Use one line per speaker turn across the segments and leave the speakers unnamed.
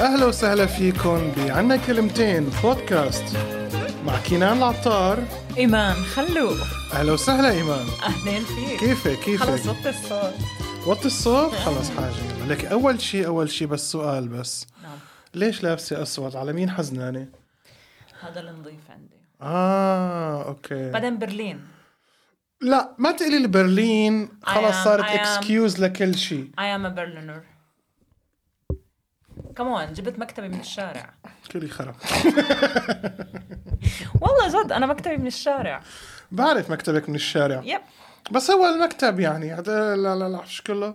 اهلا وسهلا فيكم بعنا كلمتين بودكاست مع كنان العطار
ايمان خلو
اهلا وسهلا ايمان
اهلين فيك
كيفك
خلص
كيفك
وطي الصوت
وطي الصوت خلص حاجه لك اول شيء اول شيء بس سؤال بس
نعم
ليش لابسه اسود على مين حزنانه
هذا النظيف عندي
إيه. اه اوكي
بعدين برلين
لا ما تقلي البرلين خلص
I am-
صارت
I am-
اكسكيوز لكل شيء
اي ام برلينر كمان جبت مكتبي من الشارع
كلي خرب
والله جد انا مكتبي من الشارع
بعرف مكتبك من الشارع
يب
بس هو المكتب يعني هذا لا لا لا مش كله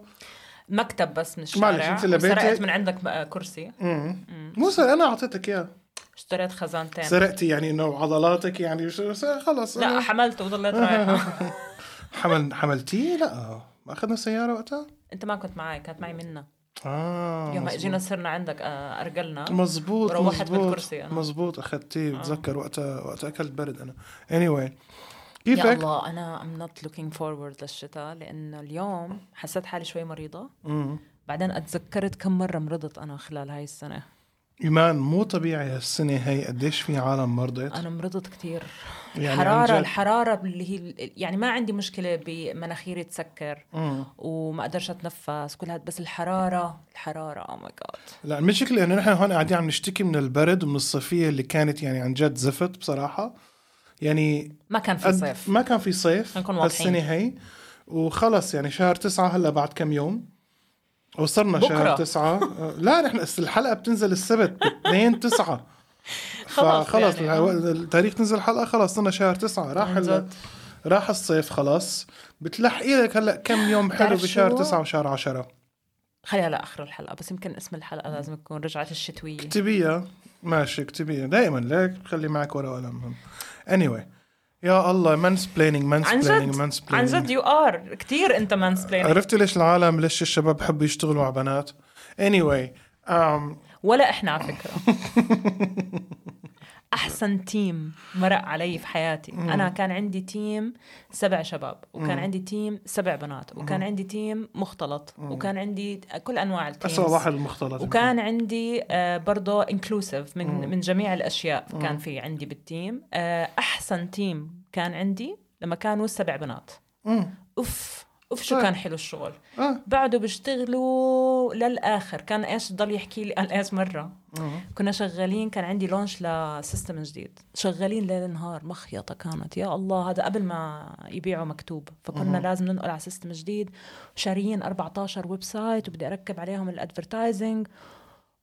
مكتب بس من
معلش،
الشارع
أنت لبيتي-
سرقت من عندك آه، كرسي
مم. مو سر- انا اعطيتك اياه
اشتريت خزانتين
سرقتي يعني انه عضلاتك يعني شو- س- خلص
لا
أنا
حملته وضليت رايحه
حمل حملتيه لا ما اخذنا سياره وقتها
انت ما كنت معي كانت معي منا
اه
يوم
مزبوط.
اجينا صرنا عندك آه، ارجلنا
مزبوط
وروحت
مزبوط
بالكرسي أنا. آه.
مزبوط اخذتيه بتذكر وقتها وقتها اكلت برد انا anyway
يا
كيفك؟
الله انا ام نوت لوكينج فورورد للشتاء لانه اليوم حسيت حالي شوي مريضه
مم.
بعدين اتذكرت كم مره مرضت انا خلال هاي السنه
ايمان مو طبيعي هالسنه هي قديش في عالم مرضت
انا مرضت كتير
يعني
يعني
عن جد.
الحراره الحراره اللي هي ال- يعني ما عندي مشكله بمناخيري تسكر
مم.
وما اقدرش اتنفس كل هاد بس oh الحراره الحراره او ماي جاد
لا المشكلة انه نحن هون قاعدين عم نشتكي من البرد ومن الصيفية اللي كانت يعني عن جد زفت بصراحة يعني
ما كان في
قد-
صيف
ما كان في صيف
نكون واضحين.
هالسنة هي وخلص يعني شهر تسعة هلا بعد كم يوم وصلنا
بكرة.
شهر تسعة آه، لا نحن أس- الحلقة بتنزل السبت 2 تسعة
خلص
فخلص
يعني.
الهو- التاريخ تنزل الحلقة خلص صرنا شهر تسعة راح
عن
ال...
جد.
راح الصيف خلاص بتلحقي لك هلا كم يوم حلو
بتعرف
بشهر
شو؟
تسعة وشهر عشرة
خليها لاخر الحلقه بس يمكن اسم الحلقه لازم تكون رجعت الشتويه
اكتبيها ماشي اكتبيها دائما ليك خلي معك ورقه وقلم anyway يا الله منس بليننج
عن
منس بليننج
جد
منس
عن جد يو ار كثير انت مانسبلينينج
عرفتي ليش العالم ليش الشباب بحبوا يشتغلوا على بنات anyway um,
ولا احنا على فكره احسن تيم مرق علي في حياتي انا كان عندي تيم سبع شباب وكان عندي تيم سبع بنات وكان عندي تيم مختلط وكان عندي كل انواع التيمز
اسوء واحد المختلط
وكان عندي آه، برضه انكلوسيف من من جميع الاشياء كان في عندي بالتيم آه، احسن تيم كان عندي لما كانوا السبع بنات
مم.
اوف اوف شو
طيب.
كان حلو الشغل
آه.
بعده بيشتغلوا للاخر كان ايش ضل يحكي لي قال ايش مره كنا شغالين كان عندي لونش لسيستم جديد شغالين ليل نهار مخيطه كانت يا الله هذا قبل ما يبيعوا مكتوب فكنا لازم ننقل على سيستم جديد شاريين 14 ويب سايت وبدي اركب عليهم الادفرتايزنج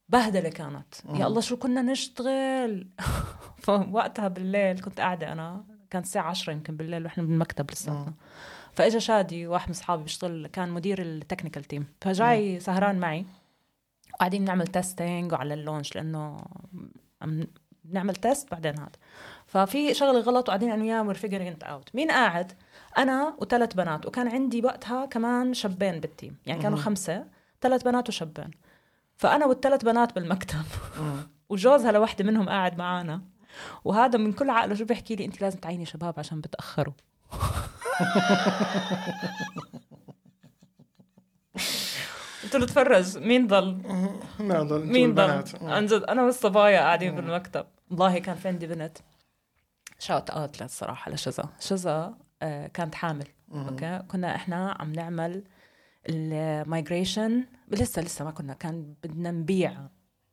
بهدله كانت يا الله شو كنا نشتغل فوقتها بالليل كنت قاعده انا كانت الساعه 10 يمكن بالليل واحنا بالمكتب لساتنا فاجا شادي واحد من اصحابي بيشتغل كان مدير التكنيكال تيم فجاي سهران معي وقاعدين نعمل تيستينج وعلى اللونش لانه عم نعمل تيست بعدين هذا ففي شغله غلط وقاعدين انا وياه وير فيجرينج اوت مين قاعد انا وثلاث بنات وكان عندي وقتها كمان شابين بالتيم يعني كانوا خمسه ثلاث بنات وشابين فانا والثلاث بنات بالمكتب وجوزها لوحده منهم قاعد معانا وهذا من كل عقله شو بيحكي لي انت لازم تعيني شباب عشان بتاخروا قلت له تفرج مين ضل
نعم
مين ضل عن جد انا والصبايا قاعدين بالمكتب والله كان في عندي بنت شوت اوت للصراحه لشذا شذا آه، كانت حامل اوكي كنا احنا عم نعمل المايجريشن لسه لسه ما كنا كان بدنا نبيع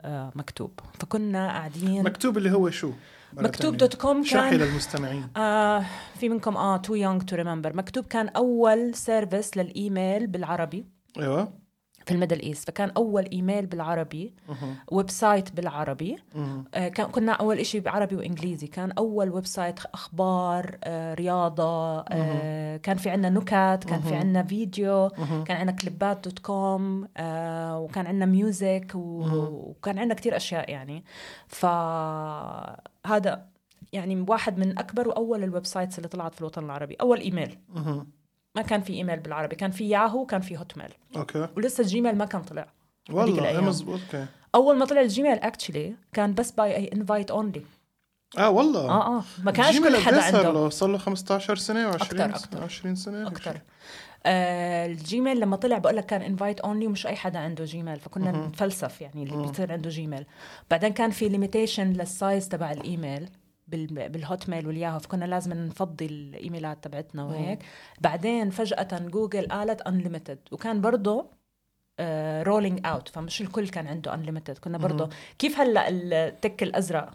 آه، مكتوب فكنا قاعدين
مكتوب اللي هو شو مرة
مكتوب
تانية.
دوت كوم
شرحي
كان
للمستمعين
آه في منكم اه تو يونغ تو ريمبر مكتوب كان اول سيرفيس للايميل بالعربي
ايوه
في الميدل ايست فكان اول ايميل بالعربي ويب سايت بالعربي آه، كان كنا اول إشي بعربي وانجليزي كان اول ويب سايت اخبار آه، رياضه آه، كان في عندنا نكت كان في عندنا فيديو كان عندنا كليبات دوت كوم آه، وكان عندنا ميوزك وكان عندنا كتير اشياء يعني فهذا يعني واحد من اكبر واول الويب سايتس اللي طلعت في الوطن العربي اول ايميل
مهم.
ما كان في ايميل بالعربي كان في ياهو كان في هوت ميل
اوكي
ولسه جيميل ما كان طلع
والله إيه
الأيام.
مزبوط اوكي
اول ما طلع الجيميل اكشلي كان بس باي اي انفايت اونلي
اه والله
اه اه ما كانش كل حدا عنده
له صار له 15 سنه و20
أكتر- أكتر.
20 سنه
اكثر آه الجيميل لما طلع بقول لك كان انفايت اونلي ومش اي حدا عنده جيميل فكنا
مهم.
نتفلسف يعني اللي
مهم.
بيصير عنده جيميل بعدين كان في ليميتيشن للسايز تبع الايميل بال- بالهوت ميل والياهو فكنا لازم نفضي الايميلات تبعتنا وهيك بعدين فجاه جوجل قالت انليمتد وكان برضه رولينج اوت فمش الكل كان عنده انليمتد كنا برضه كيف هلا التك الازرق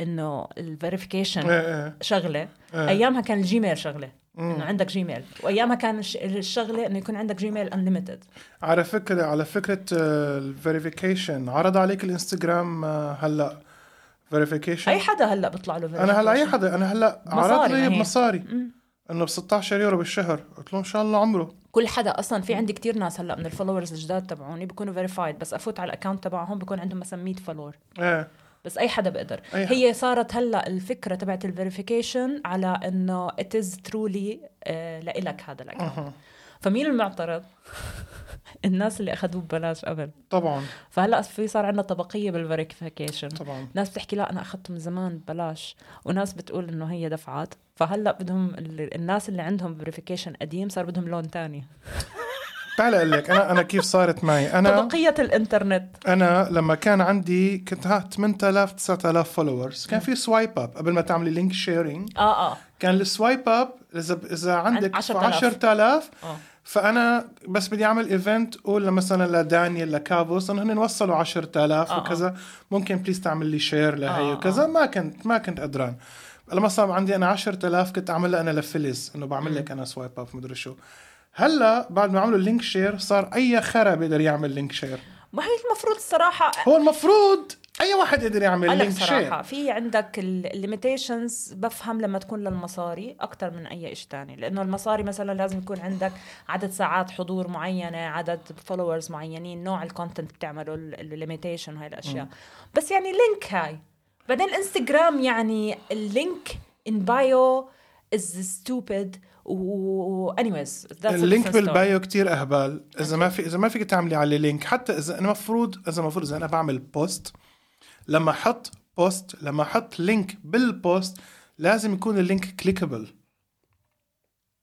انه الفيريفيكيشن
ايه ايه
شغله
إيه.
ايامها كان الجيميل شغله
مم.
انه عندك جيميل وايامها كان الش- الشغله انه يكون عندك جيميل انليمتد
على فكرة على فكرة الفيريفيكيشن عرض عليك الانستغرام آه، هلا
اي
فيريفيكيشن
حدا هلا بيطلع له
انا هلا اي
verification.
حدا انا هلا
مصاري
عرض لي
يعني.
بمصاري
مم.
انه ب 16 يورو بالشهر قلت له ان شاء الله عمره
كل حدا اصلا في عندي كتير ناس هلا من الفولورز الجداد تبعوني بيكونوا فيريفايد بس افوت على الاكونت تبعهم بيكون عندهم مثلا 100 فولور
ايه
بس اي حدا بيقدر
أي حدا.
هي صارت هلا الفكره تبعت الفيريفيكيشن على انه ات از ترولي آه، لإلك هذا الاكونت
أها.
فمين المعترض الناس اللي اخذوه ببلاش قبل
طبعا
فهلا في صار عندنا طبقيه بالفيريفيكيشن
طبعا
ناس بتحكي لا انا اخذته من زمان ببلاش وناس بتقول انه هي دفعات فهلا بدهم ال- الناس اللي عندهم فيريفيكيشن قديم صار بدهم لون تاني
تعال اقول لك انا انا كيف صارت معي انا
طبقيه الانترنت
انا لما كان عندي كنت ها 8000 9000 فولورز كان في سوايب اب قبل ما تعملي لينك شيرينج
اه اه
كان السوايب اب اذا اذا عندك
10,000.
10000
اه
فانا بس بدي اعمل ايفنت قول مثلا لدانيال لكابوس انه هن وصلوا 10000
آه.
وكذا ممكن بليز تعمل لي شير لهي
آه.
وكذا ما كنت ما كنت قدران لما صار عندي انا 10000 كنت اعملها انا لفلس انه بعمل لك انا سوايب اب مدري شو هلا بعد ما عملوا اللينك شير صار اي خرا بيقدر يعمل لينك شير
ما هي المفروض الصراحه
هو المفروض اي واحد يقدر يعمل
لك
لينك شير
صراحه في عندك الليميتيشنز بفهم لما تكون للمصاري اكثر من اي شيء تاني لانه المصاري مثلا لازم يكون عندك عدد ساعات حضور معينه عدد فولورز معينين نوع الكونتنت بتعمله الليميتيشن هاي الاشياء بس يعني لينك هاي بعدين الانستغرام يعني اللينك ان بايو از ستوبد و anyways that's a
اللينك
different story.
بالبايو كتير اهبال اذا ما في اذا ما فيك تعملي عليه لينك حتى اذا انا المفروض اذا المفروض اذا انا بعمل بوست لما احط بوست لما احط لينك بالبوست لازم يكون اللينك كليكبل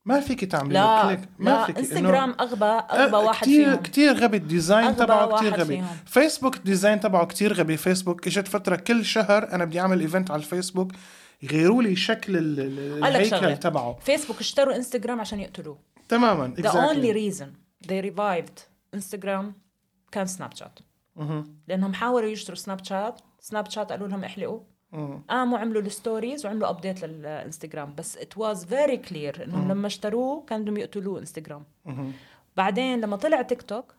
ما فيك تعملي له
لا
كليك يعني ما
لا
فيك أه،
انستغرام اغبى اغبى واحد
كتير
فيهم
كتير غبي الديزاين
أغبى
تبعه كتير
واحد
غبي
فيهم.
فيسبوك الديزاين تبعه كتير غبي فيسبوك اجت فتره كل شهر انا بدي اعمل ايفنت على الفيسبوك يغيروا لي شكل ال- ال-
قالك شغلة.
الهيكل تبعه
فيسبوك اشتروا انستغرام عشان يقتلوه
تماما
The only
exactly.
reason they revived Instagram كان سناب شات
مهم.
لانهم حاولوا يشتروا سناب شات سناب شات قالوا لهم احلقوا
مم.
قاموا عملوا الستوريز وعملوا ابديت للانستغرام بس ات واز فيري كلير انهم لما اشتروه كانوا بدهم يقتلوه انستغرام
مهم.
بعدين لما طلع تيك توك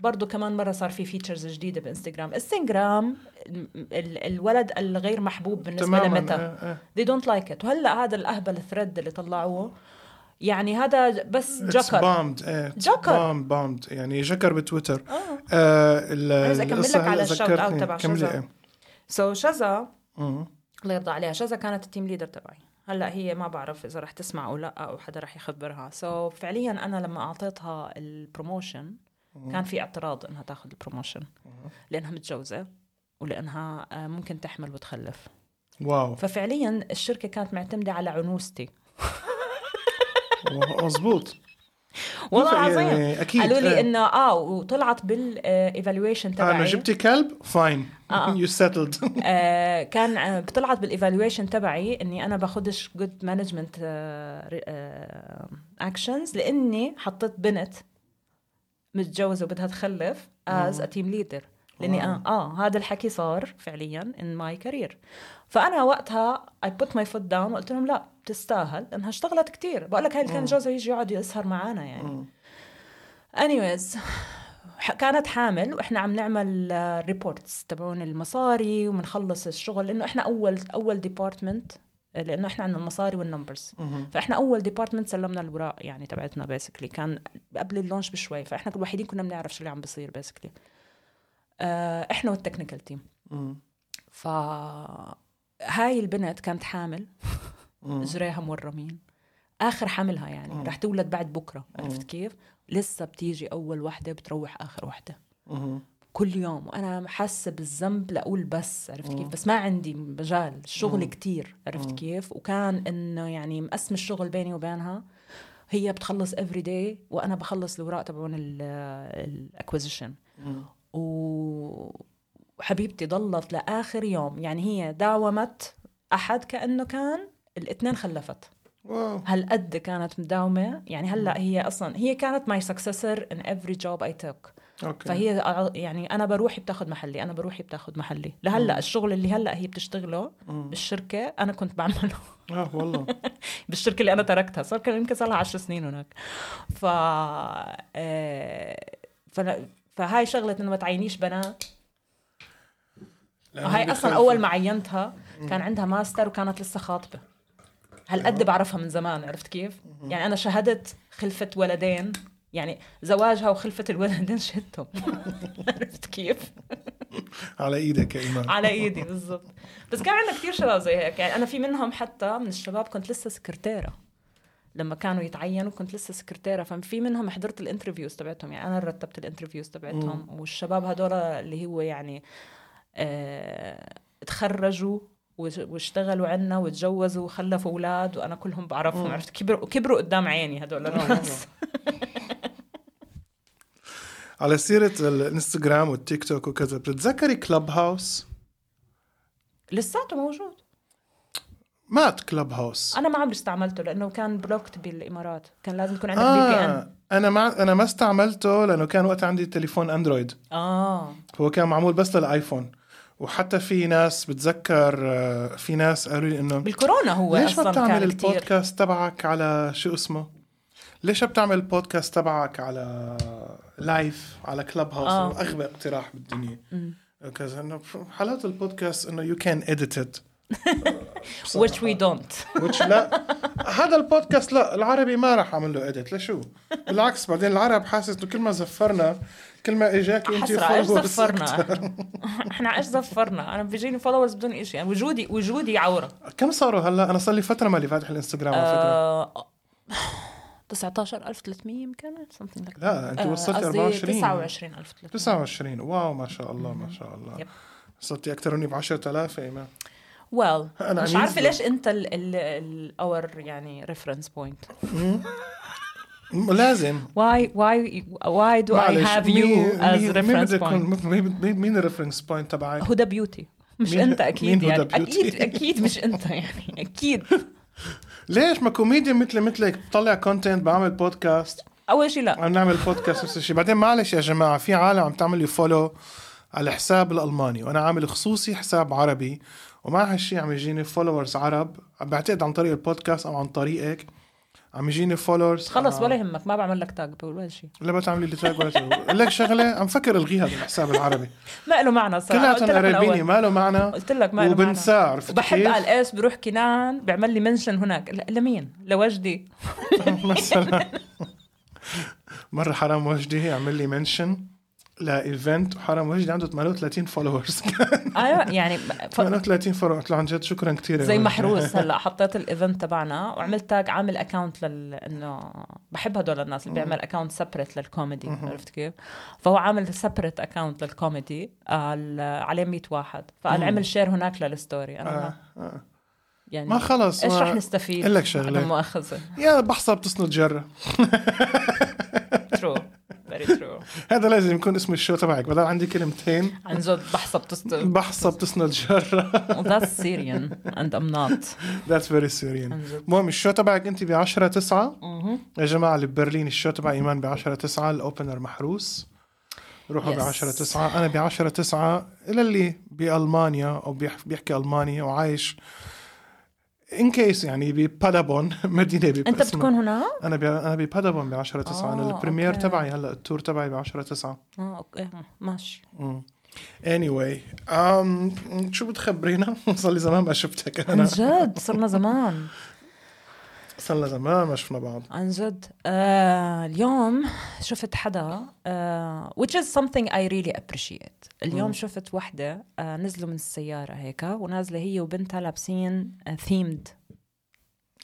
برضه كمان مرة صار في فيتشرز جديدة بانستغرام، انستغرام ال- ال- الولد الغير محبوب بالنسبة
تماما
لميتا
آه، آه.
they don't like it وهلا هذا الاهبل الثريد اللي طلعوه يعني هذا بس جكر
بامد ايه
جكر.
بامد بامد يعني جكر بتويتر
اه
آه ال-
عايزة أكمل
القصة
لك على
هلأ
الشوت
ذكرتني.
أوت تبع
كملي،
شذا.
إيه.
سو شذا
مم.
الله يرضى عليها شذا كانت التيم ليدر تبعي هلا هي ما بعرف اذا رح تسمع او لا او حدا رح يخبرها سو so, فعليا انا لما اعطيتها البروموشن كان في اعتراض انها تاخذ البروموشن لانها متجوزه ولانها آه، ممكن تحمل وتخلف
واو
ففعليا الشركه كانت معتمده على عنوستي
مزبوط
والله
يعني
العظيم
أكيد،
قالوا
إيه.
لي انه اه وطلعت بالايفالويشن تبعي
انا جبتي كلب فاين
آه.
يو سيتلد
آه، كان آه، طلعت بالايفالويشن تبعي اني انا باخدش آه، جود مانجمنت اكشنز لاني حطيت بنت متجوزه وبدها تخلف از ا تيم ليدر لاني اه, آه هذا الحكي صار فعليا ان ماي كارير فانا وقتها اي بوت ماي فوت داون وقلت لهم لا بتستاهل لانها اشتغلت كتير بقول لك هاي اللي كان جوزها يجي يقعد يسهر معانا يعني anyways ح- كانت حامل واحنا عم نعمل ريبورتس تبعون المصاري وبنخلص الشغل لانه احنا اول اول ديبارتمنت لانه احنا عندنا المصاري والنمبرز فاحنا اول ديبارتمنت سلمنا الاوراق يعني تبعتنا بيسكلي كان قبل اللونش بشوي فاحنا الوحيدين كنا بنعرف شو اللي عم بيصير بيسكلي آه احنا والتكنيكال تيم ف هاي البنت كانت حامل جريها مورمين اخر حملها يعني رح تولد بعد بكره عرفت كيف لسه بتيجي اول وحده بتروح اخر وحده كل يوم وانا حاسه بالذنب لاقول بس عرفت كيف بس ما عندي مجال الشغل كتير عرفت كيف وكان انه يعني مقسم الشغل بيني وبينها هي بتخلص افري داي وانا بخلص الاوراق تبعون الاكوزيشن وحبيبتي ضلت لاخر يوم يعني هي داومت احد كانه كان الاثنين خلفت
واو
هالقد كانت مداومه يعني هلا هي اصلا هي كانت ماي سكسسر ان افري جوب اي توك
اوكي
فهي أع- يعني انا بروحي بتاخذ محلي انا بروحي بتاخذ محلي لهلا الشغل اللي هلا هي بتشتغله
مم.
بالشركه انا كنت بعمله
اه والله
بالشركه اللي انا تركتها صار كان يمكن صار لها 10 سنين هناك ف آه، فلا- فهاي شغله انه ما تعينيش بنات
لأنه
هاي اصلا
بيخاف.
اول ما عينتها كان عندها ماستر وكانت لسه خاطبه هالقد بعرفها من زمان عرفت كيف يعني انا شهدت خلفه ولدين يعني زواجها وخلفه الولدين شهدتهم عرفت كيف
على ايدك يا ايمان
على ايدي بالضبط بس كان عندنا كثير شباب زي هيك يعني انا في منهم حتى من الشباب كنت لسه سكرتيره لما كانوا يتعينوا كنت لسه سكرتيره ففي منهم حضرت الانترفيوز تبعتهم يعني انا رتبت الانترفيوز تبعتهم والشباب هدول اللي هو يعني آه تخرجوا وش- واشتغلوا عنا وتجوزوا وخلفوا اولاد وانا كلهم بعرفهم عرفت كبروا كبروا قدام عيني هدول الناس
على سيره الانستغرام والتيك توك وكذا بتتذكري كلب هاوس
لساته موجود
مات كلب هاوس
انا ما عمري استعملته لانه كان بلوكت بالامارات كان لازم يكون عندك بي بي ان
آه انا ما انا ما استعملته لانه كان وقتها عندي تليفون اندرويد
اه
هو كان معمول بس للايفون وحتى في ناس بتذكر آه، في ناس قالوا لي انه
بالكورونا هو
ليش
اصلا
ما بتعمل
كان كتير
البودكاست تبعك على شو اسمه؟ ليش ما بتعمل البودكاست تبعك على لايف على كلب هاوس
آه.
آه. اغبى اقتراح بالدنيا كذا انه حلاوه البودكاست انه يو كان اديت ات
which we don't
which لا هذا البودكاست لا العربي ما راح اعمل له اديت لشو؟ بالعكس بعدين العرب حاسس انه كل ما زفرنا كل ما اجاك انت
حسرة ايش
followers
زفرنا
أكتر.
إحنا؟ احنا ايش زفرنا انا بيجيني فولورز بدون إشي يعني وجودي وجودي عورة
كم صاروا هلا؟ انا صار لي فتره مالي فاتح الانستغرام على فكره
آه، 19300 يمكن something like that.
لا انت
آه،
وصلتي
قصدي
24
29300
29 واو ما شاء الله ما شاء الله
يب.
صرتي اكثر مني إيه، ب 10000 يا ايمان
ويل
أنا
مش
عم
عارفه
ينزل.
ليش انت ال ال ال اور يعني ريفرنس بوينت
م- لازم
why why why do I have you as reference point
بوينت مين الريفرنس بوينت تبعك؟
هدى بيوتي مش
مين-
انت اكيد
مين هدى
يعني
بيوتي؟
اكيد اكيد مش انت يعني اكيد
ليش ما كوميديان مثل مثلك بطلع كونتنت بعمل بودكاست
اول شيء لا
عم نعمل بودكاست نفس الشيء بعدين معلش يا جماعه في عالم عم تعمل لي فولو على حساب الالماني وانا عامل خصوصي حساب عربي ومع هالشيء عم يجيني فولورز عرب عم بعتقد عن طريق البودكاست او عن طريقك عم يجيني فولورز
خلص ولا يهمك ما بعمل لك تاج بقول ولا شيء
لا بتعملي لي تاج ولا شيء بقول لك شغله عم فكر الغيها بالحساب العربي
ما له معنى صراحه قلت
كلياتنا
لك من
قرايبيني
الأول.
ما له معنى
قلت لك ما له معنى
وبنساه عرفت
وبحب
كيف؟
قال ايش بروح كنان بيعمل لي منشن هناك ل- لمين لوجدي
مثلا مره حرام وجدي عمل لي منشن لايفنت وحرام وجدي عنده 38 فولورز
ايوه يعني ف-
38 فولور قلت له عن جد شكرا كثير
زي محروس هلا حطيت الايفنت تبعنا وعملت تاج عامل اكونت لل انه بحب هدول الناس اللي بيعمل اكونت سبريت للكوميدي عرفت كيف؟ فهو عامل سبريت اكونت للكوميدي قال آه، عليه 100 واحد فقال عمل شير هناك للستوري انا ما- يعني
آه. ما خلص
ايش
ما-
رح نستفيد؟
قلك شغلة.
لا مؤاخذه
يا بحصة بتسند جرة
ترو فيري ترو
هذا لازم يكون اسم الشو تبعك بدل عندي كلمتين
عن جد بحسب تستر
بحصة بتسند جرة
That's Syrian and I'm not
That's very Syrian
عن جد
المهم الشو تبعك انت ب 10 9 يا جماعة اللي ببرلين الشو تبع ايمان ب 10 9 الاوبنر محروس روحوا
Yes.
ب 10 9 انا ب 10 9 للي بالمانيا او بيح- بيحكي المانيا وعايش ان كيس يعني ببادابون مدينة باسمها.
انت بتكون هنا؟
انا ب... انا ببادابون ب 10 9 انا
آه،
البريمير
أوكي.
تبعي هلا التور تبعي ب 10 9
اه اوكي ماشي
anyway um, شو بتخبرينا؟ صار لي زمان ما شفتك
عن
انا
جد صرنا زمان
صار لنا زمان ما شفنا بعض
عن جد آه اليوم شفت حدا آه which is something I really appreciate اليوم شفت وحدة آه نزلوا من السيارة هيك ونازلة هي وبنتها لابسين آه themed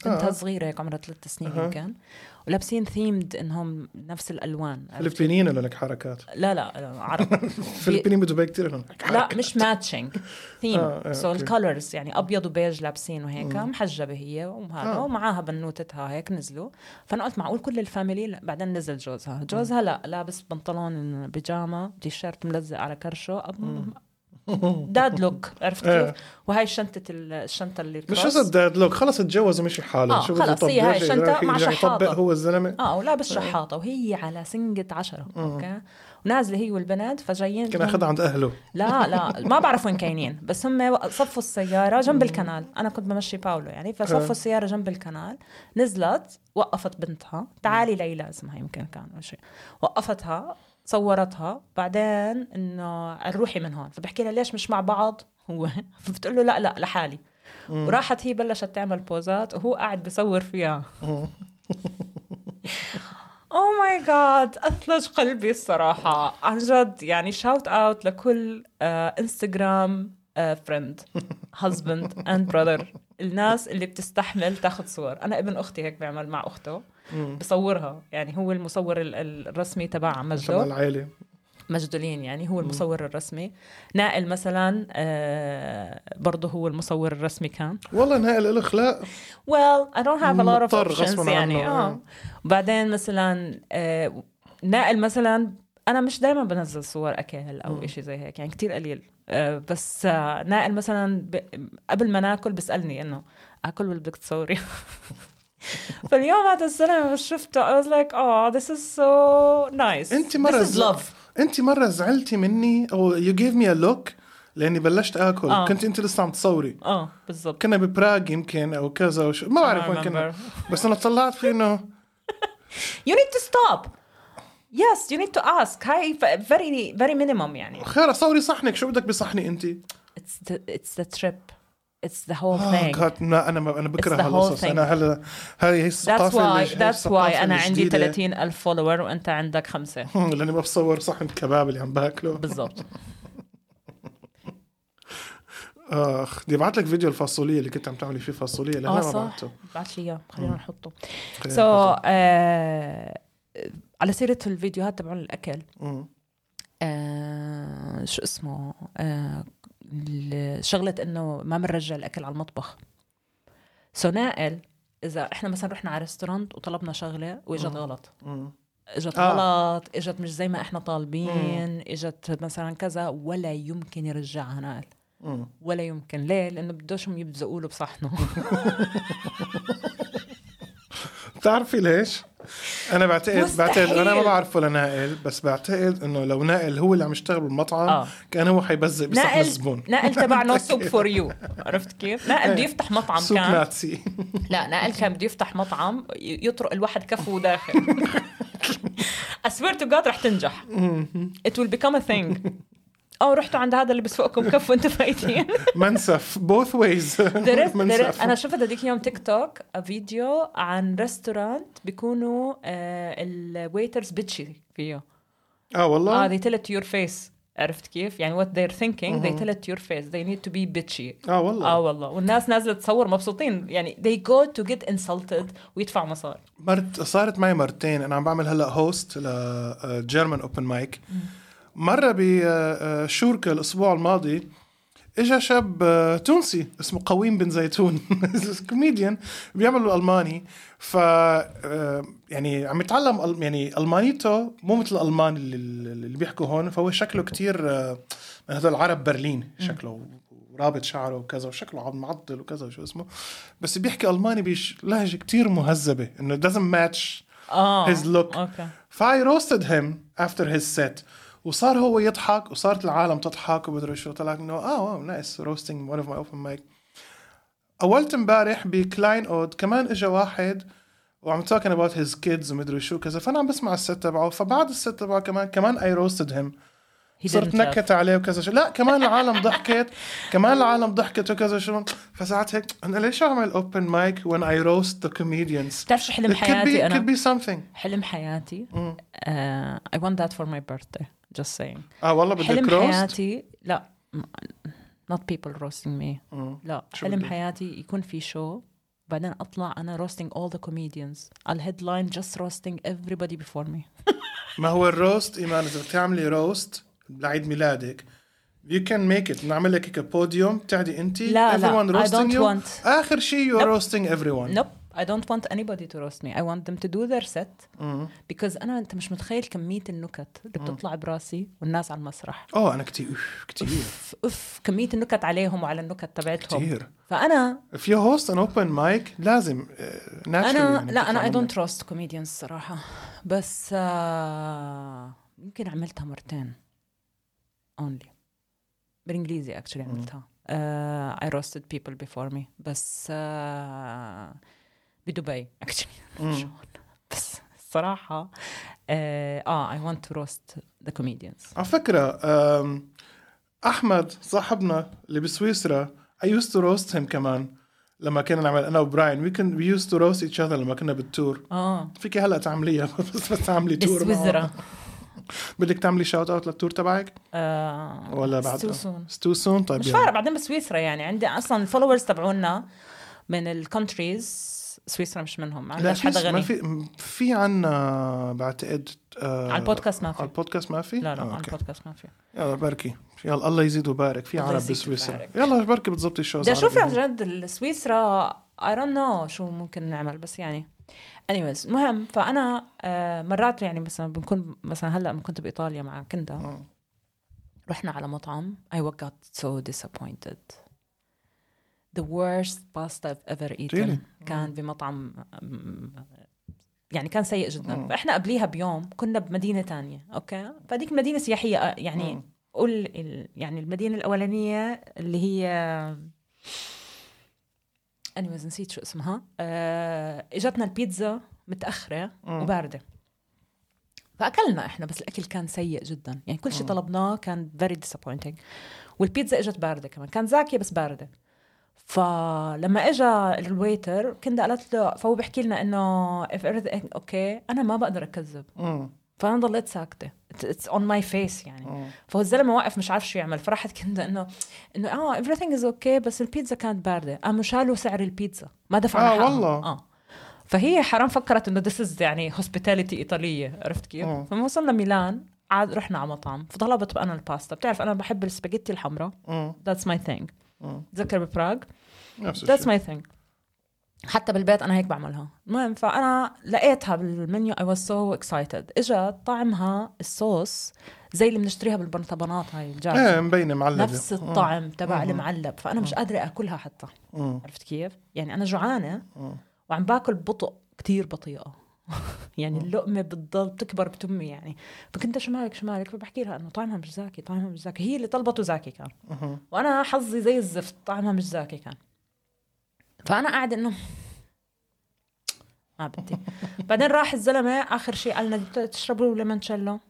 بنتها صغيره هيك عمرها ثلاث سنين
أها.
يمكن ولابسين ثيمد انهم نفس الالوان عرفت؟
فلبينيين لك حركات
لا لا لا، عرب
فلبينيين بدبي كثير لهم
لا مش ماتشنج
آه، آه،
ثيم سو
أوكي.
الكالرز يعني ابيض وبيج لابسين وهيك
مم.
محجبه هي وهذا
آه.
ومعاها بنوتتها هيك نزلوا فانا قلت معقول كل الفاميلي لا، بعدين نزل جوزها جوزها لا لابس بنطلون بيجاما تيشيرت ملزق على كرشه أب- داد لوك عرفت
آه.
كيف وهاي شنطه ال- الشنطه اللي
مش
cross.
قصد داد لوك خلص اتجوز ومشي حاله
آه، خلص، هي هاي شنطة مع
يطبق
شحاطة.
هو الزلمه
اه
آه.
ولابس شحاطه وهي على سنقه عشرة اوكي ونازله هي والبنات فجايين
كان اخذها عند اهله
لا لا ما بعرف وين كاينين بس هم وق- صفوا السيارة جنب الكنال أنا كنت بمشي باولو يعني
آه.
فصفوا السيارة جنب الكنال نزلت وقفت بنتها تعالي ليلى اسمها يمكن كان أو شيء وقفتها صورتها بعدين إنه روحي من هون فبحكي لها ليش مش مع بعض هو فبتقول له لا لا لحالي وراحت هي بلشت تعمل بوزات وهو قاعد بصور فيها او ماي جاد اثلج قلبي الصراحه عن جد يعني شاوت اوت لكل آه، انستغرام فريند هازبند اند براذر الناس اللي بتستحمل تاخذ صور انا ابن اختي هيك بيعمل مع اخته بصورها يعني هو المصور ال- الرسمي تبعها
عشان
مجده
العائله
مجدولين يعني هو المصور الرسمي نائل مثلا آه، برضه هو المصور الرسمي كان
والله نهائي الاخلاق
well I don't have a lot of
مضطر
options
غصباً
يعني
عنه،
اه
آه.
بعدين مثلا آه نائل مثلا انا مش دائما بنزل صور اكل او إشي زي هيك يعني كتير قليل آه بس آه نائل مثلا ب... قبل ما ناكل بيسالني انه اكل ولا بدك تصوري فاليوم هذا الزلمه بس شفته I was like oh this is so nice
انت مره
this is
زل...
love
انت مره زعلتي مني او يو جيف مي ا لوك لاني بلشت اكل
آه.
كنت انت لسه عم تصوري
اه بالضبط
كنا ببراغ يمكن او كذا وشو ما بعرف وين كنا بس انا طلعت في انه
you need to stop yes you need to ask هاي ف- very very minimum يعني
خير صوري صحنك شو بدك بصحني انت؟
it's the it's the trip it's the whole
آه
thing
God, ما انا ما انا بكره
It's the whole
هالقصص
thing.
انا هلا هاي هي
that's
الثقافه
why
اللي- هاي
that's why
الثقافة
انا عندي
الجديدة.
30 الف فولور وانت عندك خمسة
هم، لاني ما بصور صحن كباب اللي عم باكله
بالضبط
اخ بدي ابعث لك فيديو الفاصوليه اللي كنت عم تعملي فيه فاصوليه لهلا
اه
ما
صح
بعته
بعت لي اياه خلينا نحطه
خلينا
سو
نحطه.
على سيرة الفيديوهات تبعون الاكل
مم.
آه، شو اسمه آه، ال- شغلة انه ما بنرجع الاكل على المطبخ سو نائل اذا احنا مثلا رحنا على ريستورانت وطلبنا شغله واجت غلط
مم.
اجت
آه.
آه. غلط اجت مش زي ما احنا طالبين اجت مثلا كذا ولا يمكن يرجعها نائل
مم.
ولا يمكن ليه لانه بدوشهم يبزقوا له بصحنه
بتعرفي ليش؟ انا بعتقد بعتقد انا ما
مستحيل.
بعرفه لنائل بس بعتقد انه لو نائل هو اللي عم يشتغل بالمطعم
آه.
كان هو حيبزق بصحن
نائل
الزبون
نائل تبع نو سوب فور يو عرفت كيف نائل بده يفتح مطعم
إيه. سوق
كان
ناتسي
لا نائل كان بده يفتح مطعم ي- يطرق الواحد كفه داخل اسوير تو جاد رح تنجح ات ويل بيكم ا ثينج اه رحتوا عند هذا اللي بسفقكم كف وانتوا فايتين
منسف بوث ويز
درست درست انا شفت هذيك يوم تيك توك فيديو عن ريستورانت بيكونوا آه، الويترز بتشي فيه
اه والله
اه they tell it to your face عرفت كيف؟ يعني what they're thinking they tell it to your face they need to be bitchy
اه والله
اه والله والناس نازله تصور مبسوطين يعني they go to get insulted ويدفعوا مصاري
مرت صارت معي مرتين انا عم بعمل هلا هوست لجيرمان اوبن مايك مره بشوركه الاسبوع آه، الماضي اجا شاب آه، تونسي اسمه قويم بن زيتون كوميديان بيعمل الماني ف آه، يعني عم يتعلم أل- يعني المانيته مو مثل الالمان اللي, اللي بيحكوا هون فهو شكله كتير آه، من هذول العرب برلين شكله ورابط شعره وكذا وشكله عم معضل وكذا وشو اسمه بس بيحكي الماني بلهجه كتير مهذبه انه doesn't match
اه
his look
اوكي
فاي روستد هيم افتر هيز سيت وصار هو يضحك وصارت العالم تضحك ومدري شو طلع انه اه واو نايس روستنج ون اوف ماي اوبن مايك اولت امبارح بكلاين اود كمان اجى واحد وعم توكن اباوت هيز كيدز ومدري شو كذا فانا عم بسمع الست تبعه فبعد الست تبعه كمان كمان اي روستد هيم
He
صرت
didn't laugh.
نكت عليه وكذا شو لا كمان العالم ضحكت كمان العالم ضحكت وكذا شو فساعات هيك انا ليش اعمل اوبن مايك when I roast the comedians
بتعرف شو حلم
it could be,
حياتي
it could
انا
be something
حلم حياتي آه I want that for my birthday just saying
اه والله بدك
حلم
روست
حياتي لا م- not people roasting me
مم.
لا
آه. شو
حلم
بدك؟
حياتي يكون في شو بعدين اطلع انا roasting all the comedians الهيدلاين just roasting everybody before me
ما هو الروست ايمان اذا بتعملي روست لعيد ميلادك You can make it نعمل لك هيك بوديوم بتعدي انت
لا، لا.
everyone
I
roasting
don't
you
want.
اخر شيء you are
Nope.
roasting everyone
nope I don't want anybody to roast me I want them to do their set
آه.
because انا انت مش متخيل كمية النكت اللي بتطلع براسي والناس على المسرح
اوه انا كتير أوف، كتير
اف اف كمية النكت عليهم وعلى النكت تبعتهم
كتير.
فانا
If you host an open mic لازم آه، naturally
انا
يعني
لا انا اي
تطلع
دونت تراست كوميديانز الصراحه بس آه يمكن عملتها مرتين اونلي بالانجليزي اكشلي عملتها آه، اي روستد بيبل بيفور مي بس آه بدبي اكشلي بس الصراحه اه اي ونت تو روست ذا كوميديانز
على فكرة أم، أحمد صاحبنا اللي بسويسرا I used to roast him كمان لما كنا نعمل أنا وبراين we, can, we used to roast each other لما كنا بالتور
اه
فيك هلا تعمليها بس بس تعملي تور معه.
بسويسرا
بدك تعملي شاوت اوت للتور تبعك
آه،
ولا
it's
بعد
too soon.
ستو سون طيب
مش
يلا.
فارق بعدين بسويسرا يعني عندي اصلا الفولورز تبعونا من الكونتريز سويسرا مش منهم ما
لا
عندناش
في
حدا
ما
غني
في م- في عنا بعتقد آه
على البودكاست ما في.
على البودكاست ما في؟
لا لا
آه،
على
أوكي.
البودكاست ما في
يلا بركي يلا الله يزيد ويبارك في
الله
عرب
يزيد
بسويسرا
ويبارك.
يلا بركي بتظبطي الشوز
بدي اشوف عن
عربي.
جد سويسرا اي دونت نو شو ممكن نعمل بس يعني anyways المهم فانا آه، مرات يعني مثلا بنكون مثلا هلا لما كنت بايطاليا مع كندا
آه.
رحنا على مطعم I got so disappointed the worst pasta I've ever eaten
Really?
كان بمطعم يعني كان سيء جدا فاحنا قبليها بيوم كنا بمدينه تانية اوكي فديك مدينه سياحيه آه، يعني قول ال- يعني المدينه الاولانيه اللي هي anyways نسيت شو اسمها آه، اجتنا البيتزا متاخره
آه،
وبارده فاكلنا احنا بس الاكل كان سيء جدا يعني كل شيء طلبناه كان very disappointing والبيتزا اجت بارده كمان كان زاكيه بس بارده فلما اجى الويتر كنت قالت له فهو بيحكي لنا انه if everything okay انا ما بقدر اكذب
مم.
فانا ضليت ساكته It- it's on my
آه،
face يعني فهو الزلمه واقف مش عارف شو يعمل فراحت كندا انه انه اه everything is okay بس البيتزا كانت بارده قاموا شالوا سعر البيتزا ما دفعنا
آه،
حقهم.
والله.
اه فهي حرام فكرت انه ذس از يعني هوسبيتاليتي ايطاليه عرفت كيف؟
آه.
فلما وصلنا ميلان عاد رحنا على مطعم فطلبت انا الباستا بتعرف انا بحب السباجيتي الحمراء
مم.
ذاتس ماي ثينج
مم.
تذكر ببراغ
آه. نفس الشيء
That's my thing حتى بالبيت انا هيك بعملها المهم فانا لقيتها بالمنيو اي واز سو اكسايتد اجى طعمها الصوص زي اللي بنشتريها بالبرطبانات هاي الجاهزه
ايه مبينه معلبه
نفس الطعم تبع المعلب فانا مش قادره اكلها حتى
آه.
عرفت كيف يعني انا جوعانه وعم باكل ببطء كتير بطيئه يعني اللقمه بتضل بتكبر بتمي يعني فكنت شمالك شمالك فبحكي لها انه طعمها مش زاكي طعمها مش زاكي هي اللي طلبته زاكي كان وانا حظي زي الزفت طعمها مش زاكي كان فانا قاعده انه ما بدي بعدين راح الزلمه اخر شيء قال لنا تشربوا ليمونشيلو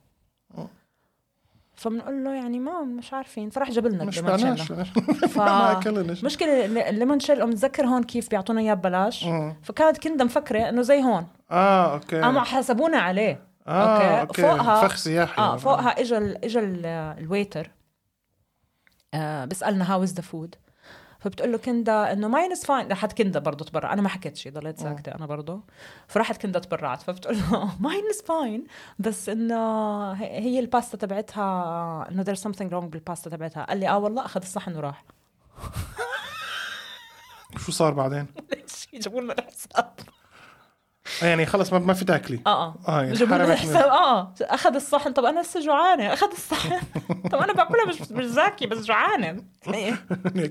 فبنقول له يعني ما مش عارفين فراح جاب لنا
مش
الليمونشيلو.
معناش
ف...
ما أكلناش.
مشكلة الليمونشيلو متذكر هون كيف بيعطونا اياه ببلاش
مم.
فكانت كندا مفكرة انه زي هون
اه اوكي
قاموا حسبونا عليه
اه اوكي
فوقها
فخ سياحي
اه فوقها اجى ال- اجى ال- الويتر آه بسالنا هاو از ذا فود فبتقول له كندا انه ماينس فاين راحت كندا برضه تبرع انا ما حكيت شيء ضليت ساكته انا برضه فراحت كندا تبرعت فبتقول له ماينس فاين بس انه هي- هي الباستا تبعتها انه there's something wrong بالباستا تبعتها قال لي اه والله اخذ الصحن وراح
شو صار بعدين؟
ليش جابوا لنا الحساب
آه، يعني خلص ما, ما في تاكلي
اه
آه،
اه
يعني
جابوا لنا
حرمت
الحساب اه اخذ الصحن طب انا لسه جوعانه اخذ الصحن طب انا باكلها مش مش زاكي بس جوعانه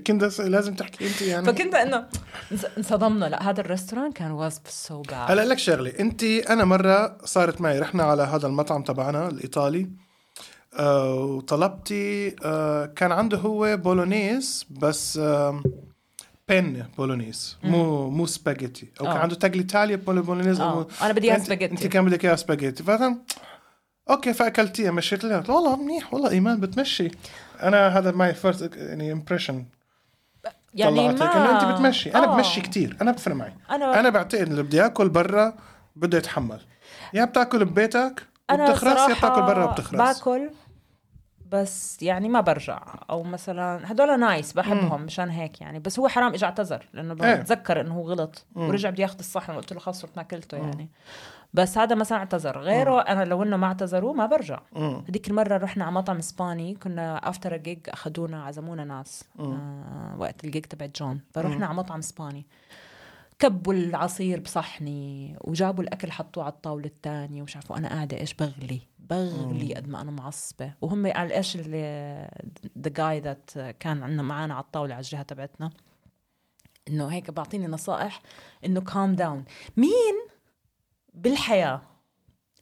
كندا س- يعني لازم تحكي انت يعني
فكنت انه انص- انصدمنا لا هذا الريستوران كان واز سو باد
هلا لك شغله انت انا مره صارت معي رحنا على هذا المطعم تبعنا الايطالي آه وطلبتي آه كان عنده هو بولونيز بس آه بن بولونيز مو مو سباجيتي او كان
آه.
عنده تاجليتاليا بول- بولونيز
آه،
مو-
أنا بدي إياها
أنت-
سباجيتي.
انت كان بدك اياها سباجيتي فاهم اوكي فاكلتيها مشيت لها قلت والله منيح والله ايمان بتمشي انا هذا ماي فيرست يعني امبريشن
يعني
طلعت لك انه انت
ما
بتمشي انا
آه.
بمشي كتير انا بفرق معي
أنا-
انا انا بعتقد اللي بدي اكل برا بده يتحمل يا بتاكل ببيتك
انا
وبتخرس يا
صراحة
بتاكل برا وبتخرس
باكل بس يعني ما برجع او مثلا هدول نايس بحبهم مشان هيك يعني بس هو حرام اجى اعتذر لانه
إيه.
بتذكر انه هو غلط
مم.
ورجع بدي ياخذ الصحن وقلت له خلص صرت ما اكلته يعني بس هذا مثلا اعتذر غيره انا لو انه ما اعتذروا ما برجع
مم.
هذيك المرة رحنا على مطعم اسباني كنا افتر جيج اخذونا عزمونا ناس آه وقت الجيج تبعت جون فرحنا على مطعم اسباني كبوا العصير بصحني وجابوا الاكل حطوه على الطاوله الثانيه ومش عارفه انا قاعده ايش بغلي بغلي قد ما انا معصبه وهم قال ايش اللي ذا جاي ذات كان عندنا معانا على الطاوله على الجهه تبعتنا انه هيك بعطيني نصائح انه كام داون مين بالحياه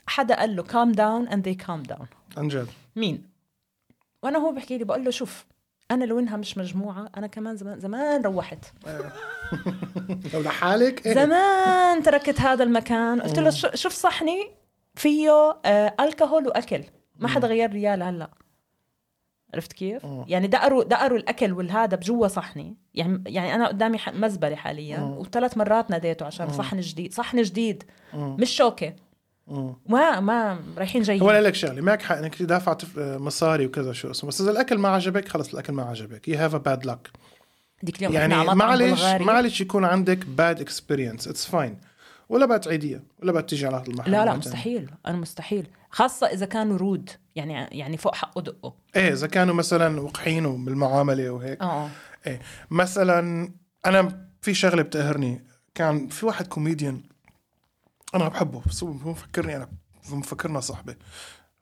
حدا قال له كام داون اند ذي كام داون
عن جد
مين وانا هو بحكي لي بقول له شوف انا لو انها مش مجموعه انا كمان زمان زمان روحت
لو لحالك إيه.
زمان تركت هذا المكان قلت له "شو- شوف صحني فيه آه الكهول واكل ما حدا غير ريال هلا عرفت كيف؟
مم.
يعني دقروا دقروا الاكل والهذا بجوا صحني، يعني يعني انا قدامي ح- مزبله حاليا
مم.
وثلاث مرات ناديته عشان صحن جديد، صحن جديد
مم.
مش شوكه،
مم.
ما ما رايحين
هو
جايين
انا لك شغله معك حق انك دافع آه، مصاري وكذا شو اسمه بس اذا الاكل ما عجبك خلص الاكل ما عجبك يو هاف ا باد لك
ديك اليوم
يعني
يعني على مطعم
معلش
بلغاري
معلش يكون عندك باد اكسبيرينس اتس فاين ولا بقى تعيديها ولا بقى تيجي على هذا المحل
لا لا
مرة
مستحيل انا مستحيل خاصه اذا كانوا رود يعني يعني فوق حقه دقه
تانية. ايه اذا كانوا مثلا وقحين بالمعامله وهيك
اه
ايه مثلا انا في شغله بتقهرني كان في واحد كوميديان انا بحبه بس هو هو مفكرني انا هو مفكرنا صاحبي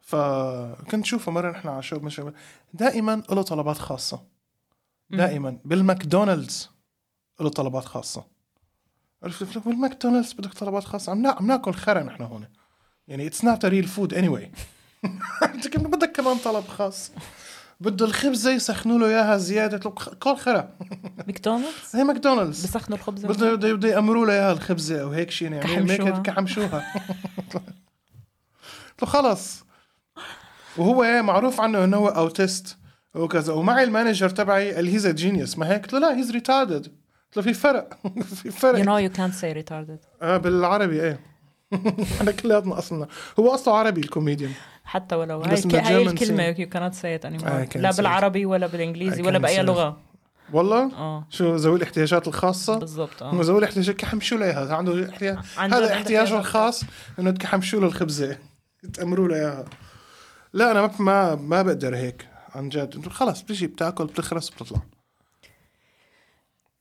فكنت شوفه مره نحن على شو من شو- دائما له طلبات خاصه دائما بالماكدونالدز له طلبات خاصه عرفت قلت له بالماكدونالدز بدك طلبات خاصه عم نا- عم ناكل خرا نحن هون يعني اتس نوت ريل فود اني واي بدك كمان طلب خاص بده الخبزه يسخنوا له اياها زياده قلت له "خ- كل خرا
ماكدونالدز
زي ماكدونالدز
بسخنوا الخبز
بده بده بده يأمروا له اياها الخبزه او هيك شيء يعني
كحمشوها.
هيك كحمشوها قلت له خلص وهو معروف عنه انه هو اوتيست وكذا ومعي المانجر تبعي قال هيز جينيوس ما هيك قلت له لا هيز ريتاردد قلت له في فرق في فرق
يو نو يو كانت سي ريتاردد
آه بالعربي ايه احنا كلياتنا اصلنا هو اصله عربي الكوميديان
حتى ولو هاي,
بس
الك... هاي
بالGerman
الكلمه يو كانت سي ات
I can't
لا
say it.
بالعربي ولا
I
بالانجليزي
can't
ولا باي
say it.
لغه
والله
اه
شو ذوي الاحتياجات الخاصه
بالضبط
هم
اه
ذوي الاحتياجات كحمشوا له اياها عنده احتياج
آه. عنده-
هذا
عنده
احتياجه
احتياج
الخاص انه تكحمشوا له الخبزه تامروا له اياها لا انا ما ما ما بقدر هيك عن جد انتو خلص بتجي بتاكل بتخرس بتطلع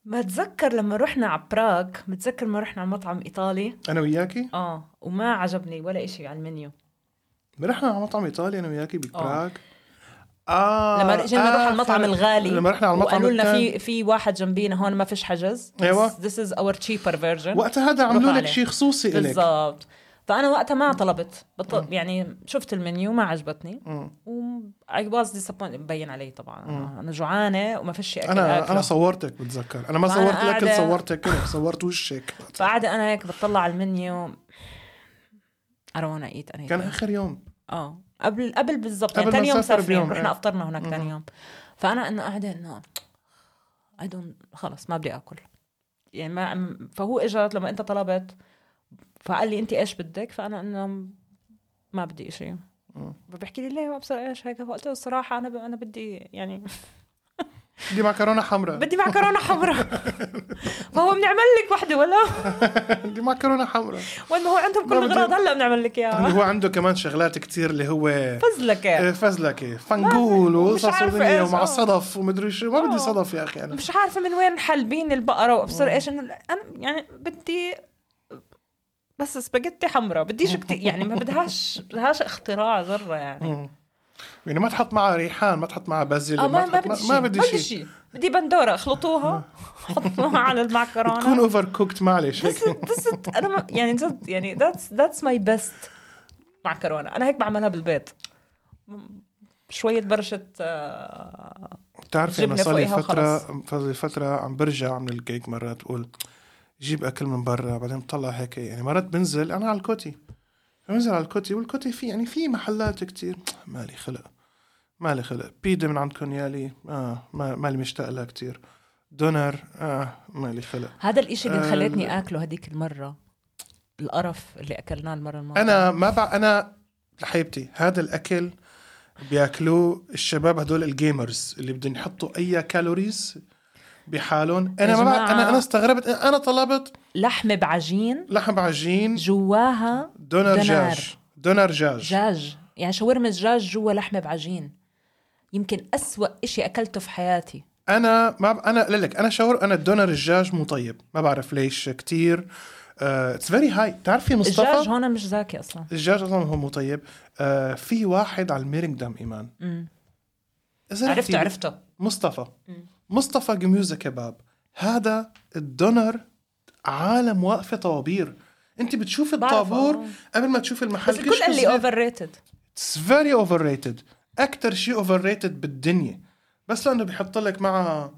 بتذكر لما رحنا على براغ بتذكر لما رحنا على مطعم ايطالي
انا وياكي
اه وما عجبني ولا إشي على المنيو
رحنا على مطعم ايطالي انا وياكي ببراغ
آه. لما
اه
رح- جينا نروح على المطعم
آخر-
الغالي
لما رحنا على المطعم
وقالوا لنا
التاني.
في في واحد جنبينا هون ما فيش حجز
أيوة.
ذس از اور تشيبر فيرجن
وقتها هذا عملوا
رحنا
لك
عليه.
شيء خصوصي لك
بالضبط فانا وقتها ما طلبت بطل... يعني شفت المنيو ما عجبتني و اي واز ديسابوينت مبين علي طبعا انا جوعانه وما فيش شيء اكل
انا
آكله.
انا صورتك بتذكر انا ما
وأنا
صورت الاكل
قاعدة-
صورتك كده صورت وشك
فقاعده انا هيك بطلع على المنيو I don't wanna eat anything
كان اخر يوم
اه قبل قبل
قبل
بالضبط يعني
ما
ثاني يوم
نسافر
مسافرين
بيوم،
رحنا
إيه.
افطرنا هناك ثاني يوم فانا انه قاعده انه اي دون خلص ما بدي اكل يعني ما فهو اجت لما انت طلبت فقال لي انت ايش بدك فانا انه ما بدي شيء فبحكي لي ليه وابصر ايش هيك فقلت له الصراحه انا ب... انا بدي يعني
بدي معكرونه حمراء
بدي معكرونه حمراء فهو بنعمل لك وحده ولا
بدي معكرونه حمراء
وين ما هو عندهم كل
ما بدي-
الاغراض هلا بنعمل لك
اللي
اياها
هو عنده كمان شغلات كتير اللي هو
فزلكه
فزلكه فنجول وقصص
عارفة
ودنيا
إيش،
ومع
آه.
الصدف ومدري شو ما بدي
آه.
صدف يا اخي انا
مش عارفه من وين حالبين البقره وابصر ايش انه لا، انا يعني بدي بس سباجيتي حمراء بديش كتير يعني ما بدهاش بدهاش اختراع ذره يعني
يعني ما تحط معها ريحان ما تحط معها بازيل
اه ما
تحط معها-
ما بدي شيء
ما بدي شيء آه.
شيء بدي بندوره اخلطوها حطوها على
تكون
المعكرونه
اوفر كوكت معلش
بس
هيك
بس انا ما يعني جد يعني ذاتس ذاتس ماي بيست معكرونه انا هيك بعملها بالبيت شوية برشة آه،
بتعرفي انا
جبنة
صار لي
فوقيها
فتره
وخلص.
صار لي فتره عم برجع من الجيك مرات اقول جيب اكل من برا بعدين بطلع هيك يعني مرات بنزل انا على الكوتي بنزل على الكوتي والكوتي في يعني في محلات كتير مالي خلق مالي خلق بيدا من عندكم يالي اه ما- مالي مشتاق لها كتير دونر اه مالي خلق
هذا الاشي اللي
آه.
خلتني اكله هديك المرة القرف اللي اكلناه المرة الماضية
انا ما بع... انا لحيبتي هذا الاكل بياكلوه الشباب هدول الجيمرز اللي بدهم يحطوا اي كالوريز بحالهم انا ما بعرف- انا انا استغربت انا طلبت
لحمه بعجين
لحم عجين
جواها
دونر
دونر.
جاج دونر جاج
دجاج يعني شاورما دجاج جوا لحمه بعجين يمكن أسوأ إشي أكلته في حياتي
انا ما ب... انا لك انا شاور انا الدونر الجاج مو طيب ما بعرف ليش كتير آه، اتس فيري هاي بتعرفي
الدجاج
مصطفى
هون مش زاكي أصلا
الدجاج اصلا هو مو طيب آه في واحد على الميرنجدم ايمان
مم.
إذا رحتي-
عرفته عرفته
مصطفى
مم.
مصطفى جميوزة كباب هذا الدونر عالم واقفه طوابير انت بتشوفي
بعرف،
الطابور
آه.
قبل ما تشوفي المحل
بس الكل قال لي اوفر ريتد
اتس فيري اوفر ريتد اكثر شيء اوفر ريتد بالدنيا بس لانه بيحط لك معها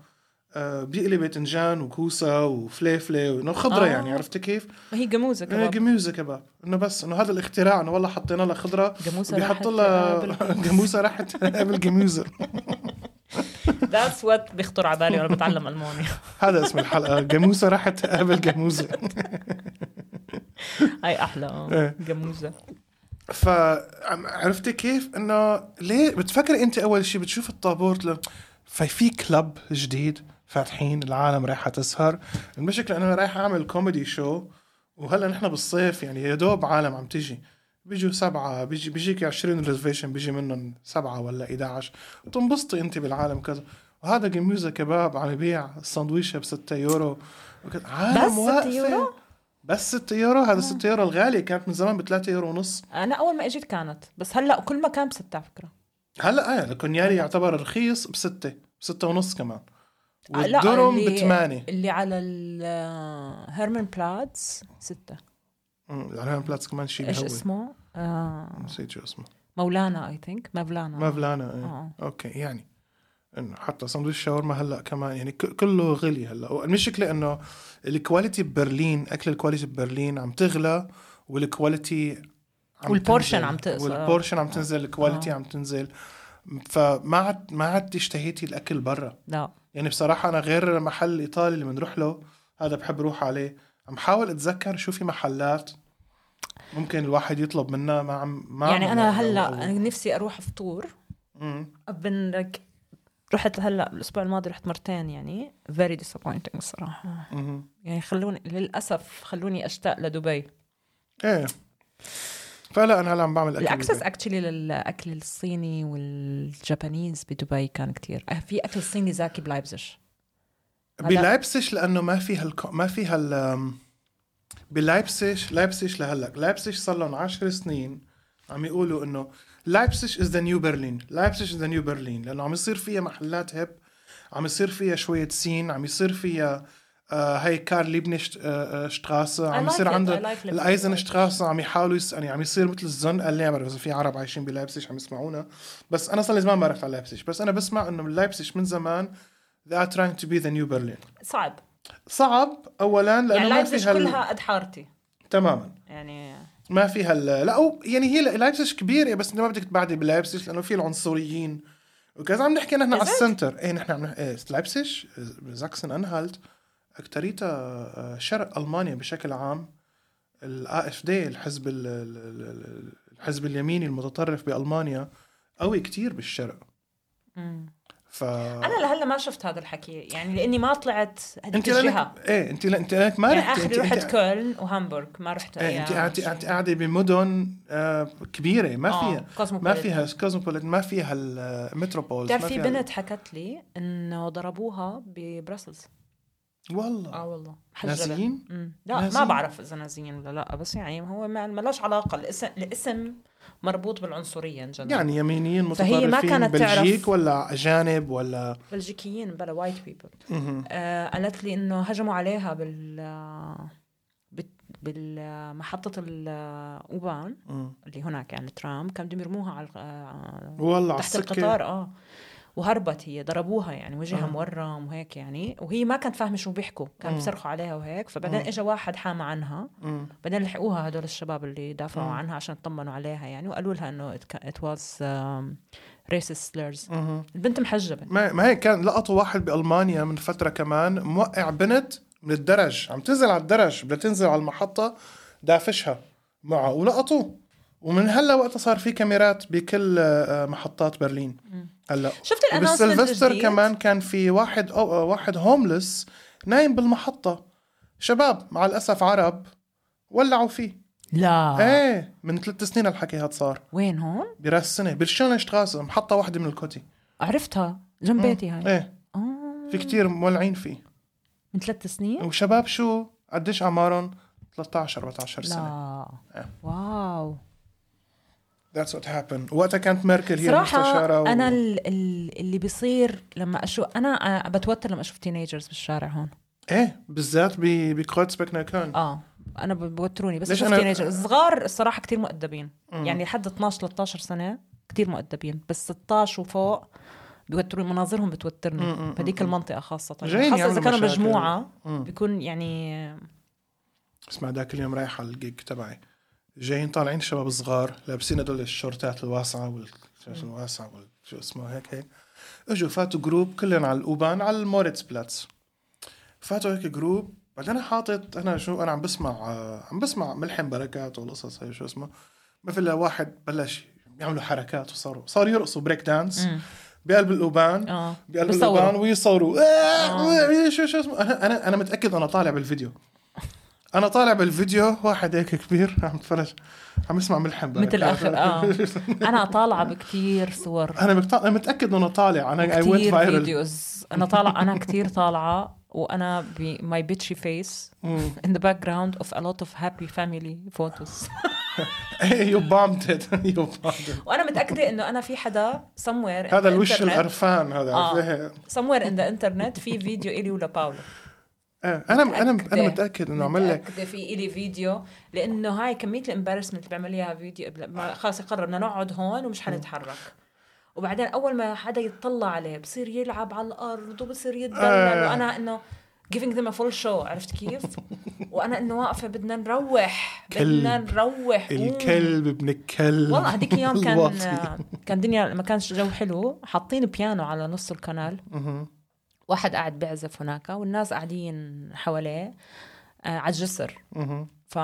آه، بيقلي باذنجان وكوسه وفليفله وانه خضره
آه.
يعني عرفتي كيف؟
ما هي جموزه
آه،
كمان
جميوزه كباب انه بس انه هذا الاختراع انه والله حطينا لها خضره
جاموسة
بيحط
راحت
لها
قبل-
جاموسه راحت قبل جاموسه
ذاتس وات بيخطر على بالي وانا بتعلم الماني
هذا اسم الحلقه جاموسه راحت قبل جاموسه
هاي احلى آه،
إيه.
جموزه
فعرفتي كيف انه ليه بتفكري انت اول شيء بتشوف الطابور ل... ففي كلب جديد فاتحين العالم رايحه تسهر المشكله انه أنا رايح اعمل كوميدي شو وهلا نحن بالصيف يعني يا دوب عالم عم تيجي بيجوا سبعة بيجي بيجيك 20 ريزرفيشن بيجي منهم سبعة ولا 11 بتنبسطي انت بالعالم كذا وهذا جميوزة كباب عم يبيع سندويشة ب 6 يورو وكذا. عالم
بس ستة
واقفة.
يورو؟ آه.
بس 6 يورو هذا 6 يورو الغالي كانت من زمان ب 3 يورو ونص
انا اول آه، ما اجيت كانت بس هلا كل مكان بستة على فكره
هلا ايه الكونياري يعتبر رخيص بستة بستة ونص كمان
آه، لا،
والدرم
اللي-
بثمانية
اللي على الهيرمان بلاتس ستة
أمم، العنوان بلاتس كمان شيء
ايش
بيهوي.
اسمه؟ آه،
نسيت شو اسمه
مولانا اي ثينك مولانا
مافلانا ايه.
آه.
اوكي يعني انه حتى سندويش شاورما هلا كمان يعني ك- كله غلي هلا والمشكله انه الكواليتي ببرلين اكل الكواليتي ببرلين عم تغلى والكواليتي عم
والبورشن
تنزل.
عم آه. تقصر.
والبورشن عم تنزل الكواليتي عم تنزل فما عاد ما عاد اشتهيتي الاكل برا
لا
يعني بصراحة أنا غير المحل الإيطالي اللي بنروح له هذا بحب روح عليه عم حاول أتذكر شو في محلات ممكن الواحد يطلب منها ما عم ما
يعني
عم
انا
أو-
هلا
أو-
أنا نفسي اروح افطور
مم.
بن like رحت هلا الاسبوع الماضي رحت مرتين يعني very disappointing الصراحه
مم.
يعني خلوني للاسف خلوني اشتاق لدبي
إيه فلا أنا هلا عم بعمل أكل
الاكسس
بالبيت.
اكشلي للاكل الصيني والجابانيز بدبي كان كتير آه، في اكل صيني زاكي بلايبزش هلا-
بلايبسش لأنه ما في هالك ما في هال بلايبسش لايبسش لهلا لايبسش صار لهم 10 سنين عم يقولوا إنه لايبسش از ذا نيو برلين لايبسش از ذا نيو برلين لأنه عم يصير فيها محلات هب عم يصير فيها شوية سين عم يصير فيها آه هاي كار ليبنش آه آه، شتراسة عم
I like
يصير
it.
عنده
I like Leibniz.
الايزن شتراسة عم يحاولوا يس... يعني عم يصير مثل الزن قال لي ما بعرف اذا في عرب عايشين بلايبسش عم يسمعونا بس انا صار لي زمان ما بعرف على لايبسش بس انا بسمع انه من لايبسش من زمان they are trying to be the new Berlin
صعب
صعب اولا لانه
يعني
ما آه.
لايبزج
فيها ال-
كلها قد حارتي
تماما
يعني
ما فيها ال- لا أو يعني هي لايبسش كبيره بس انت ما بدك تبعدي بلايبسش لانه في العنصريين وكذا عم نحكي نحن على
إذاك.
السنتر ايه نحن عم نحكي إيه لايبسش زاكسن انهالت اكتريتها آه، شرق المانيا بشكل عام الاي اف دي الحزب ال- ال- ال- الحزب اليميني المتطرف بالمانيا قوي كتير بالشرق ف
انا لهلا ما شفت هذا الحكي يعني لاني ما طلعت هذيك
انت
الجهه
لانك ايه انت لأ- انت لانك ما
يعني
رحتي
اخري
انت- انت-
رحت كولن وهامبورغ ما رحت
ايه
أي-
انت قاعده انت قاعده بمدن آه، كبيره ما
يعني. آه،
فيها ما
cosmopolitan.
فيها كوزموبوليتان ما فيها المتروبولز ما
بتعرف في
فيها-
بنت حكت لي انه ضربوها ببرسلز
والله
اه والله حجلة
نازلين
أمم. لا ما
نازيين؟
بعرف اذا نازيين ولا لا بس يعني هو ما ما لهش علاقه الاسم الاسم مربوط بالعنصريه جدا يعني
يعني يمينيين
فهي ما
متطرفين
كانت تعرف.
بلجيك ولا اجانب ولا
بلجيكيين بلا وايت بيبل
مهم.
آه قالت لي انه هجموا عليها بال بت- بالمحطة الأوبان
مم.
اللي هناك يعني ترام كانوا بدهم يرموها على الغ- آه،
والله على
تحت
السكه
القطار اه وهربت هي ضربوها يعني
آه.
وجهها مورم وهيك يعني وهي ما كانت فاهمه شو بيحكوا كانوا بيصرخوا عليها وهيك
آه.
فبعدين اجى واحد حامى عنها
مم.
بعدين لحقوها هدول الشباب اللي
آه.
دافعوا عنها عشان يطمنوا عليها يعني وقالوا لها انه ات واز ريسست سليرز
مهم.
البنت محجبه
ما ما هيك كان لقطوا واحد بالمانيا من فتره كمان موقع بنت من الدرج عم تنزل على الدرج بدها تنزل على المحطه دافشها معه ولقطوه ومن هلا وقتها صار في كاميرات بكل آه، محطات برلين هلا
شفت الانونسمنت
وبالسلفستر كمان كان في واحد أو آه، واحد هوملس نايم بالمحطه شباب مع الاسف عرب ولعوا فيه
لا
ايه من ثلاث سنين الحكي هاد صار
وين هون؟
براس السنه بالشونة شتراسة محطه واحده من الكوتي
عرفتها جنب بيتي هاي
ايه
آه.
في كتير مولعين فيه
من ثلاث سنين؟
وشباب شو قديش اعمارهم 13 14 سنه
لا
إيه.
واو
ذاتس وات هابن وقتها كانت ميركل هي المستشاره
صراحة
و...
أنا ال- ال- اللي بيصير لما أشوف أنا أنا بتوتر لما أشوف تينيجرز بالشارع هون
ايه بالذات ب- بكروتسبيك ناكون
آه أنا ب- بوتروني بس
ليش
أشوف
أنا-
تينيجرز الصغار الصراحة كتير مؤدبين يعني حد 12 13 سنة كتير مؤدبين بس 16 وفوق بيوتروني مناظرهم بتوترني بهديك المنطقة خاصة
جايين
خاصة إذا
يعملوا
كانوا
مشاكل.
مجموعة
مم.
بيكون يعني
اسمع ذاك اليوم رايح على الجيج تبعي جايين طالعين شباب صغار لابسين هدول الشورتات الواسعه وال شو اسمه الواسعه وال شو اسمه هيك هيك اجوا فاتوا جروب كلهم على الاوبان على الموريتس بلاتس فاتوا هيك جروب بعدين انا حاطط انا شو انا عم بسمع آه، عم بسمع ملحم بركات والقصص هي شو اسمه مثل واحد بلش يعملوا حركات وصاروا صاروا يرقصوا بريك دانس بقلب الاوبان
آه
بقلب
بصوروا.
الاوبان ويصوروا آه. شو شو اسمه انا انا انا متاكد انا طالع بالفيديو انا طالع بالفيديو واحد هيك كبير عم يتفرج عم يسمع ملحم
مثل آخر آه أنا طالعة بكتير صور
انا مكت- انا متاكد انه طالع انا اي ونت
كتير
فايرل
فيديوز انا طالعه انا كتير طالعه وانا بماي بيتشي فيس
Mm.
in the background of a lot of happy family photos
يو بامد يو بامد
وانا متاكده انه انا في حدا somewhere in
هذا
the
الوش
internet-
القرفان هذا
آه.
عرفت؟
somewhere in the internet في فيديو الي ولباولا
إيه. انا انا انا
متأكدة.
متاكد انه عمل لك
متاكده في الي فيديو لانه هاي كميه الامبارسمنت اللي بعمل اياها فيديو قبل- ما خلص قرر بدنا نقعد هون ومش حنتحرك وبعدين اول ما حدا يتطلع عليه بصير يلعب على الارض وبصير يتدلل
آه.
وانا انه giving them a full show عرفت كيف؟ وانا انه واقفه بدنا نروح بدنا
كلب.
نروح
الكلب ابن الكلب
والله هديك الايام كان
الواطي.
كان دنيا ما كانش جو حلو حاطين بيانو على نص القناه واحد قاعد بيعزف هناك والناس قاعدين حواليه آه، على الجسر
مهم.
ف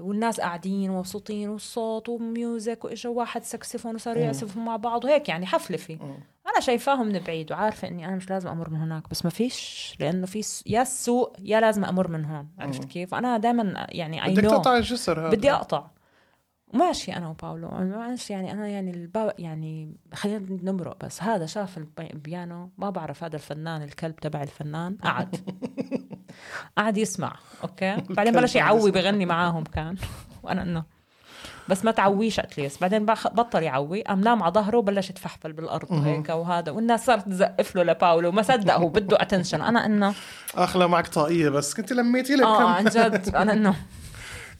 والناس قاعدين ومبسوطين والصوت وميوزك واجا واحد ساكسفون وصاروا يعزفوا مع بعض وهيك يعني حفله في انا شايفاهم من بعيد وعارفه اني انا مش لازم امر من هناك بس ما فيش لانه في س- يا السوق يا لازم امر من هون عرفت كيف انا دائما يعني اي
بدك
نو
تقطع الجسر هذا
بدي اقطع وماشي انا وباولو ماشي يعني انا يعني البا يعني خلينا نمرق بس هذا شاف البي- البيانو ما بعرف هذا الفنان الكلب تبع الفنان قعد قعد يسمع اوكي بعدين بلش يعوي بغني معاهم كان وانا انه بس ما تعويش اتليست بعدين بخ- بطل يعوي قام نام على ظهره وبلش يتفحفل بالارض وهيك وهذا والناس صارت تزقف له لباولو وما صدق هو بده اتنشن انا انه
اخلى معك طاقيه بس كنت لميتي لك
اه
كم
عن جد انا انه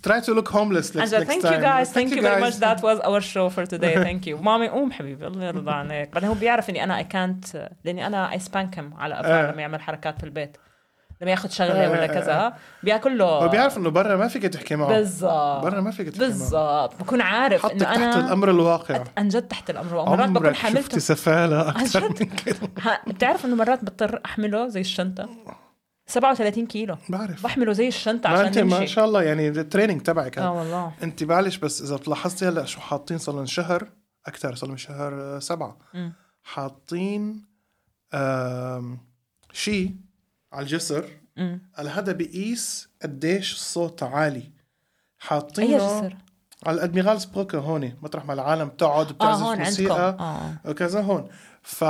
Try to look homeless next,
Angela,
next
uh, thank
time.
you guys. Thank you very
guys.
much. That was our show for today. Thank you. مامي قوم حبيبي الله يرضى عليك. بعدين هو بيعرف اني انا I can't لاني انا I spank him على
آه.
قفاه لما يعمل حركات في البيت. لما ياخذ شغله
آه، آه،
ولا كذا بياكل له
هو بيعرف انه برا ما فيك تحكي معه
بالضبط
برا ما فيك تحكي معه
بالضبط بكون عارف
حطك
انه
تحت
انا
الامر الواقع
عن جد تحت الامر ومرات
عمرك
بكون
شفت
حملته
سفاله
عن
اكثر
جد ها، بتعرف انه مرات بضطر احمله زي الشنطه 37 كيلو
بعرف
بحمله زي الشنطه
ما انت
عشان
ما
نمشي
شاء الله يعني التريننج تبعك
اه والله
انت معلش بس اذا بتلاحظتي هلا شو حاطين صار لهم شهر اكثر صار لهم شهر آه، سبعه
مم.
حاطين آم، شي على الجسر
أمم.
قال هذا بيقيس قديش الصوت عالي
اي
حاطينه
جسر
على الادميرال سبروكر هون مطرح ما العالم بتقعد
اه
بتعزف
هون عندكم
موسيقى
اه
وكذا هون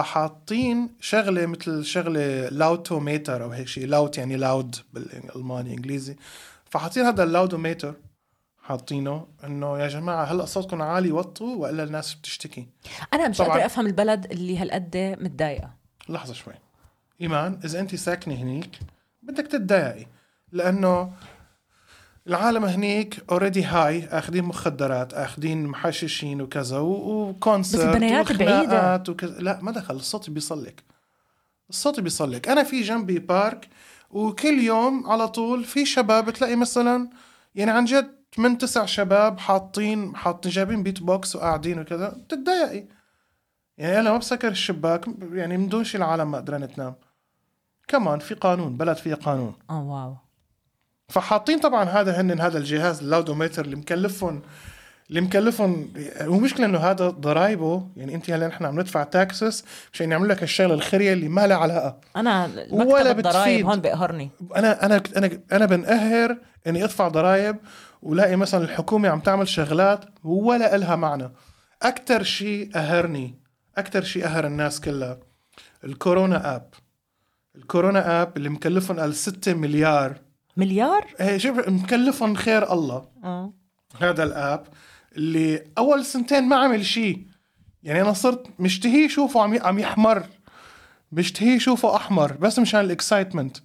فحاطين شغله مثل شغله لاوتوميتر او هيك شيء لاوت يعني لاود بالالماني انجليزي فحاطين هذا اللاودوميتر حاطينه انه يا جماعه هلا صوتكم عالي وطوا والا الناس بتشتكي
انا مش
طبعاً.
قادره افهم البلد اللي هالقد متضايقه
لحظه شوي ايمان اذا انت ساكنه هنيك بدك تتضايقي لانه العالم هنيك اوريدي هاي اخذين مخدرات اخذين محششين وكذا و- وكونسرت
بس البنايات بعيدة.
وخناقات وكذا لا ما دخل الصوت بيصلك الصوت بيصلك انا في جنبي بارك وكل يوم على طول في شباب بتلاقي مثلا يعني عن جد من تسع شباب حاطين حاطين جايبين بيت بوكس وقاعدين وكذا بتتضايقي يعني انا ما بسكر الشباك يعني من دون شي العالم ما قدران تنام كمان في قانون بلد فيها قانون
اه واو
فحاطين طبعا هذا هن هذا الجهاز اللاودوميتر اللي مكلفهم اللي مكلفهم ومشكلة انه هذا ضرايبه يعني انت هلا نحن عم ندفع تاكسس مشان يعمل لك الشغله الخريه اللي ما لها علاقه
انا مكتب
ولا
الضرايب
بتفيد.
هون بيقهرني
انا انا انا انا بنقهر اني ادفع ضرائب ولاقي مثلا الحكومه عم تعمل شغلات ولا إلها معنى اكثر شيء قهرني اكثر شيء قهر الناس كلها الكورونا اب الكورونا اب اللي مكلفهم قال 6 مليار
مليار
إيه، شوف مكلفهم خير الله
اه
هذا الاب اللي اول سنتين ما عمل شيء يعني انا صرت مشتهي شوفه عم عم يحمر مشتهي شوفه احمر بس مشان الاكسايتمنت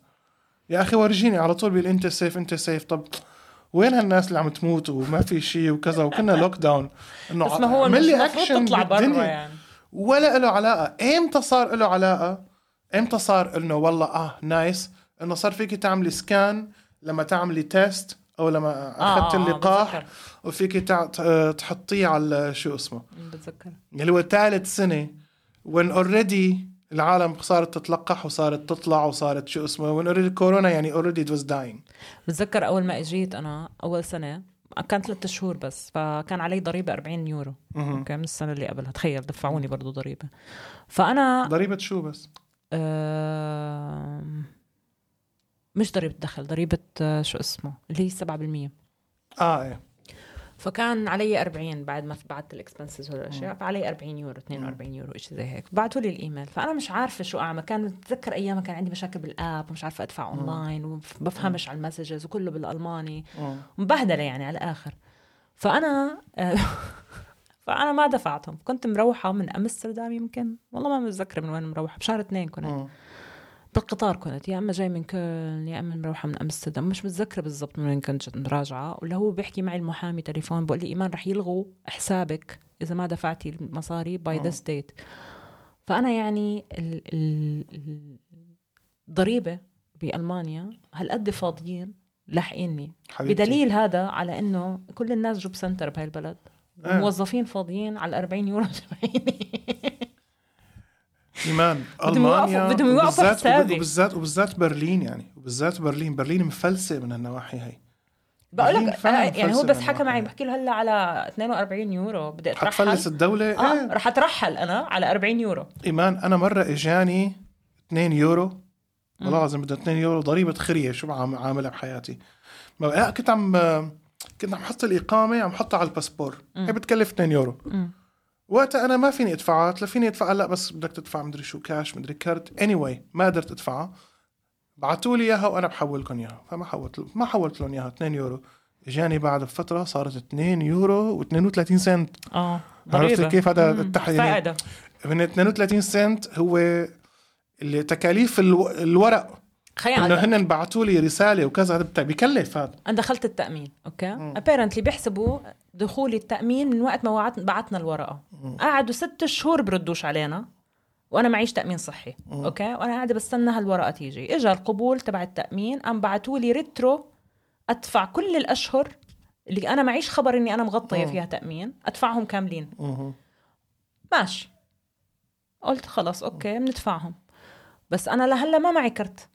يا اخي ورجيني على طول بيقول انت سيف انت سيف طب وين هالناس اللي عم تموت وما في شيء وكذا وكنا لوك داون انه
بس ما هو
اعمل
مش
لي
المفروض
action
تطلع
بالدنيا.
برا يعني
ولا له علاقه امتى صار له علاقه امتى صار انه والله اه نايس انه صار فيك تعملي سكان لما تعملي تيست او لما
آه،
اخذت
آه،
اللقاح
بتذكر.
وفيك تع- ت- تحطيه على شو اسمه
بتذكر
اللي هو ثالث سنه وين اوريدي العالم صارت تتلقح وصارت تطلع وصارت شو اسمه وين اوريدي الكورونا يعني اوريدي ات واز داينج
بتذكر اول ما اجيت انا اول سنه كان ثلاثة شهور بس فكان علي ضريبه 40 يورو اوكي من السنه اللي قبلها تخيل دفعوني برضو ضريبه فانا
ضريبه شو بس
آم، آه، مش ضريبه دخل ضريبه آه، شو اسمه اللي هي 7%
اه ايه
فكان علي 40 بعد ما بعت الاكسبنسز والاشياء فعلي 40 يورو 42 يورو شيء زي هيك بعثوا لي الايميل فانا مش عارفه شو اعمل كان بتذكر ايامها كان عندي مشاكل بالاب ومش عارفه ادفع اونلاين وبفهمش على المسجز وكله بالالماني
مم.
مبهدله يعني على الاخر فانا فانا ما دفعتهم كنت مروحه من امستردام يمكن والله ما متذكره من وين مروحه بشهر اثنين كنت
مم.
بالقطار كنت يا اما جاي من كولن يا اما مروحه من امستردام مش متذكره بالضبط من وين كنت راجعه ولا هو بيحكي معي المحامي تليفون بقول لي ايمان رح يلغوا حسابك اذا ما دفعتي المصاري باي ذس ديت فانا يعني ال- ال- ال- الضريبه بالمانيا هالقد فاضيين لاحقيني
حبيبتي.
بدليل هذا على انه كل الناس جوب سنتر بهاي البلد
آه.
موظفين فاضيين على 40 يورو تبعيني
ايمان
بدهم يوقفوا-
المانيا
بدهم يوقفوا
وبالذات-
حسابي.
وبالذات وبالذات برلين يعني وبالذات برلين برلين مفلسه من النواحي هي
بقول
مين
لك
فعلا
يعني هو
مفلسة
بس
من
حكى معي
الواحد؟
بحكي له هلا على 42 يورو بدي اترحل
حتفلس الدوله
اه
آه.
رح اترحل انا على 40 يورو
ايمان انا مره اجاني 2 يورو والله العظيم بدها 2 يورو ضريبه خريه شو عم عاملها بحياتي ما بقى- كنت عم كنت عم حط الاقامه عم حطها على الباسبور هي بتكلف 2 يورو وقتها انا ما فيني ادفعها لا فيني ادفع لا بس بدك تدفع مدري شو كاش مدري كارت اني anyway, ما قدرت ادفعها بعتوا لي اياها وانا بحولكم اياها فما حولت ما حولت لهم اياها 2 يورو اجاني بعد بفتره صارت 2 يورو و32 سنت
اه
عرفت
ضريبه
كيف هذا التحليل
فائده
من 32 سنت هو اللي تكاليف الو... الورق
خيال
انه هن بعثوا لي رساله وكذا هذا بتاع- بكلف هذا
انا دخلت التامين اوكي ابيرنتلي بيحسبوا دخولي التامين من وقت ما وعت- بعتنا الورقه قعدوا ست شهور بردوش علينا وانا معيش تامين صحي اوكي وانا قاعده بستنى هالورقه تيجي اجى القبول تبع التامين قام بعتوا لي ريترو ادفع كل الاشهر اللي انا معيش خبر اني انا مغطيه فيها تامين ادفعهم كاملين ماشي قلت خلص اوكي بندفعهم بس انا لهلا ما معي كرت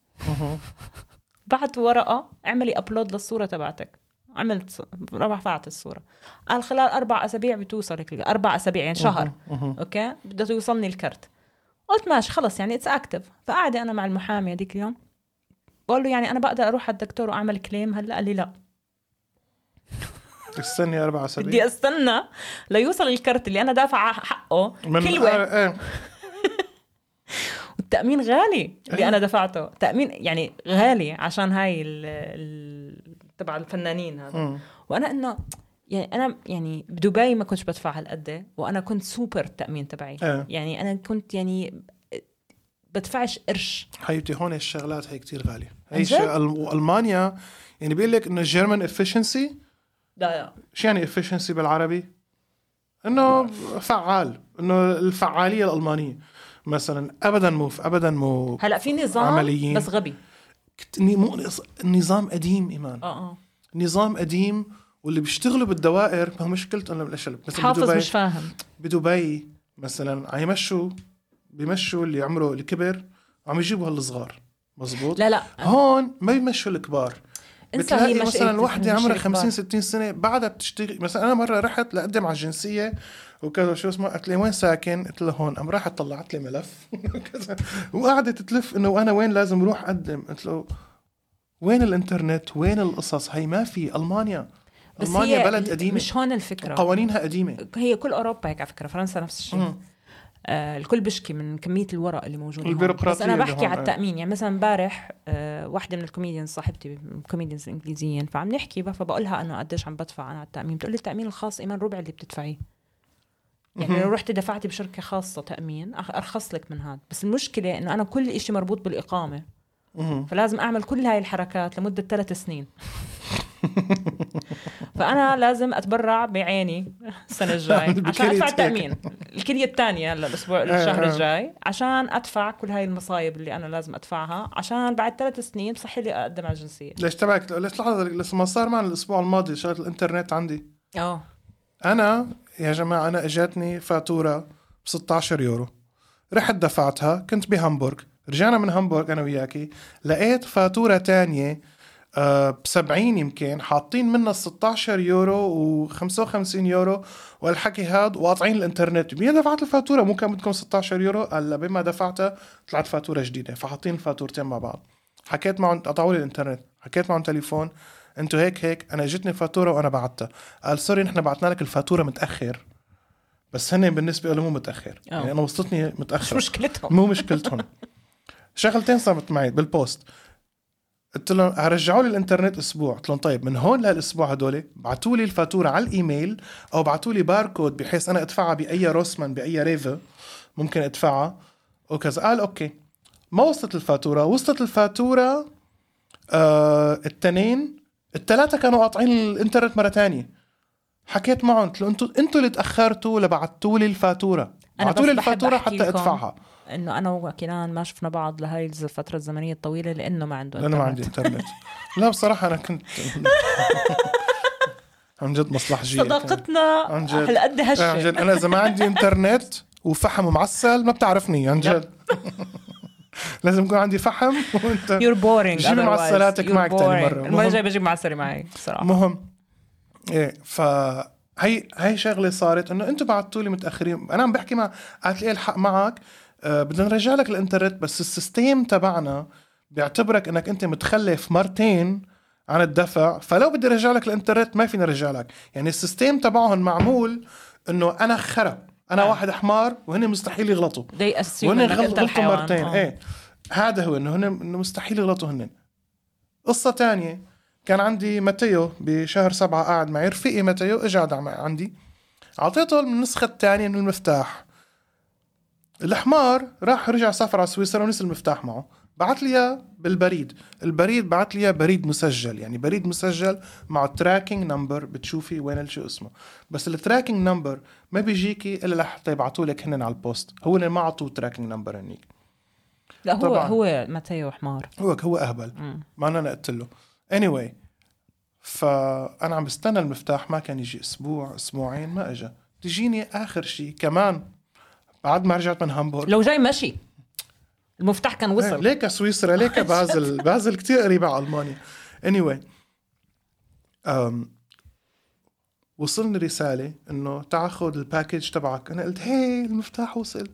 بعت ورقه اعملي ابلود للصوره تبعتك عملت رفعت الصوره قال خلال اربع اسابيع بتوصلك ال- اربع اسابيع يعني شهر اوكي بده يوصلني الكرت قلت ماشي خلص يعني اتس اكتف فقعدة انا مع المحامي هذيك اليوم بقول له يعني انا بقدر اروح على الدكتور واعمل كليم هلا قال لي لا
استني اربع
بدي
اسابيع
استنى ليوصل الكرت اللي انا دافعه حقه كلوه
آه، آه.
التأمين غالي
أيوة.
اللي أنا دفعته تأمين يعني غالي عشان هاي ال ال- تبع الفنانين
أمم.
هذا وأنا إنه يعني أنا يعني بدبي ما كنتش بدفع هالقد وأنا كنت سوبر التأمين تبعي
آه.
يعني أنا كنت يعني بدفعش قرش
حبيبتي هون الشغلات هي كتير غاليه
عن
هي
جد؟
شيء المانيا يعني بيقول لك انه جيرمان افشنسي
لا لا
شو يعني افشنسي بالعربي؟ انه فعال انه الفعاليه الالمانيه مثلا ابدا مو ابدا مو
هلا في نظام
عمليين.
بس غبي
كت- ني- مو- نظام قديم ايمان
اه اه
نظام قديم واللي بيشتغلوا بالدوائر ما هو مشكلته انه بالاشياء مثلا
حافظ
بدبي-
مش فاهم
بدبي مثلا عم يمشوا بيمشوا اللي عمره الكبر عم يجيبوا هالصغار مزبوط
لا لا
هون ما بيمشوا الكبار
انسى هي
بتلاقي
مش
مثلا وحده عمرها 50
سنه
60 سنه بعدها بتشتغل مثلا انا مره رحت لاقدم على الجنسيه وكذا شو اسمه قالت لي وين ساكن؟ قلت لها هون قام راحت طلعت لي ملف وكذا وقعدت تلف انه انا وين لازم اروح اقدم قلت له وين الانترنت؟ وين القصص؟ هي ما في المانيا المانيا بلد قديمه
مش هون الفكره
قوانينها قديمه
هي كل اوروبا هيك على فكره فرنسا نفس الشيء
مم.
آه الكل بشكي من كميه الورق اللي موجود هون.
البيروقراطية
بس انا
اللي
بحكي
هون،
على
آه.
التامين يعني مثلا امبارح آه واحده من الكوميديانز صاحبتي كوميديانز انجليزيين فعم نحكي بقى فبقول لها انا قديش عم بدفع انا على التامين بتقول لي التامين الخاص ايمان ربع اللي بتدفعيه يعني
مهم.
لو رحت دفعتي بشركه خاصه تامين أخ- ارخص لك من هذا بس المشكله انه انا كل إشي مربوط بالاقامه
مهم.
فلازم اعمل كل هاي الحركات لمده ثلاث سنين فانا لازم اتبرع بعيني السنه الجاي عشان
بكلية
ادفع
هيك.
التامين الكليه الثانيه هلا الاسبوع
آه،
الشهر
آه.
الجاي عشان ادفع كل هاي المصايب اللي انا لازم ادفعها عشان بعد ثلاث سنين بصحي لي اقدم على الجنسيه
ليش تبعك ليش لحظه ليش ما صار معنا الاسبوع الماضي شغله الانترنت عندي
اه
انا يا جماعه انا اجتني فاتوره ب 16 يورو رحت دفعتها كنت بهامبورغ رجعنا من هامبورغ انا وياكي لقيت فاتوره تانية آه، ب 70 يمكن حاطين منها 16 يورو و55 يورو والحكي هاد وقاطعين الانترنت مين دفعت الفاتوره مو كان بدكم 16 يورو قال لا، بما دفعتها طلعت فاتوره جديده فحاطين الفاتورتين مع بعض حكيت معهم قطعوا لي الانترنت حكيت معهم تليفون انتوا هيك هيك انا اجتني فاتوره وانا بعتها قال سوري نحن بعتنا لك الفاتوره متاخر بس هن بالنسبه لهم مو متاخر
أوه.
يعني انا وصلتني
شو
متاخر
مشكلتهم
مو مشكلتهم شغلتين صارت معي بالبوست قلت لهم رجعوا لي الانترنت اسبوع قلت لهم طيب من هون لهالاسبوع هدول بعتوا لي الفاتوره على الايميل او بعتوا لي باركود بحيث انا ادفعها باي روسمان باي ريفا ممكن ادفعها وكذا قال اوكي ما وصلت الفاتوره وصلت الفاتوره آه التنين الثلاثه كانوا قاطعين الانترنت مره تانية حكيت معهم قلت لهم انتوا انتوا اللي تاخرتوا لبعتوا لي الفاتوره
أنا
بعتوا لي
بس بحب
الفاتوره
أحكي
حتى
لكم
ادفعها
انه انا وكنان ما شفنا بعض لهي الز- الفتره الزمنيه الطويله لانه ما عنده
انا ما
إنترنت.
عندي انترنت لا بصراحه انا كنت عن جد مصلحجيه كان.
صداقتنا
عن جد.
على قد
آه، عن
هالشيء
جد انا اذا ما عندي انترنت وفحم معسل ما بتعرفني عن
لا.
جد لازم يكون عندي فحم وانت
يور بورينج
جيبي معسلاتك معك تاني مرة.
المره
المهم-
الجايه بجيب معسله معي بصراحه
مهم ايه ف هي هي شغله صارت انه انتم بعتوا لي متاخرين انا عم بحكي مع قالت لي إيه الحق معك آه بدنا نرجع لك الانترنت بس السيستم تبعنا بيعتبرك انك انت متخلف مرتين عن الدفع فلو بدي ارجع لك الانترنت ما فيني ارجع لك يعني السيستم تبعهم معمول انه انا خرا انا
آه.
واحد حمار وهن مستحيل يغلطوا
they assume
وهن
انك
غل-
انت
غلطوا
الحيوان
مرتين
آه.
ايه هذا هو انه هن انه مستحيل يغلطوا هن قصة تانية كان عندي ماتيو بشهر سبعة قاعد معي رفيقي ماتيو اجى قعد عم- عندي اعطيته النسخة الثانية من المفتاح الحمار راح رجع سافر على سويسرا ونسي المفتاح معه بعت لي إياه بالبريد البريد بعت لي إياه بريد مسجل يعني بريد مسجل مع تراكنج نمبر بتشوفي وين شو اسمه بس التراكنج نمبر ما بيجيكي الا لحتى يبعتوا لك هن على البوست هو اللي ما عطوه تراكنج نمبر هنيك
لا هو
طبعاً.
هو متيو حمار
هو هو اهبل
مم.
ما انا أنا قلت له اني anyway, فانا عم بستنى المفتاح ما كان يجي اسبوع اسبوعين ما اجى تجيني اخر شيء كمان بعد ما رجعت من هامبورغ
لو جاي مشي المفتاح كان وصل
إيه، ليك سويسرا ليك بازل بازل كتير قريبة على المانيا anyway أم وصلني رسالة انه تاخذ الباكج تبعك انا قلت هي المفتاح وصل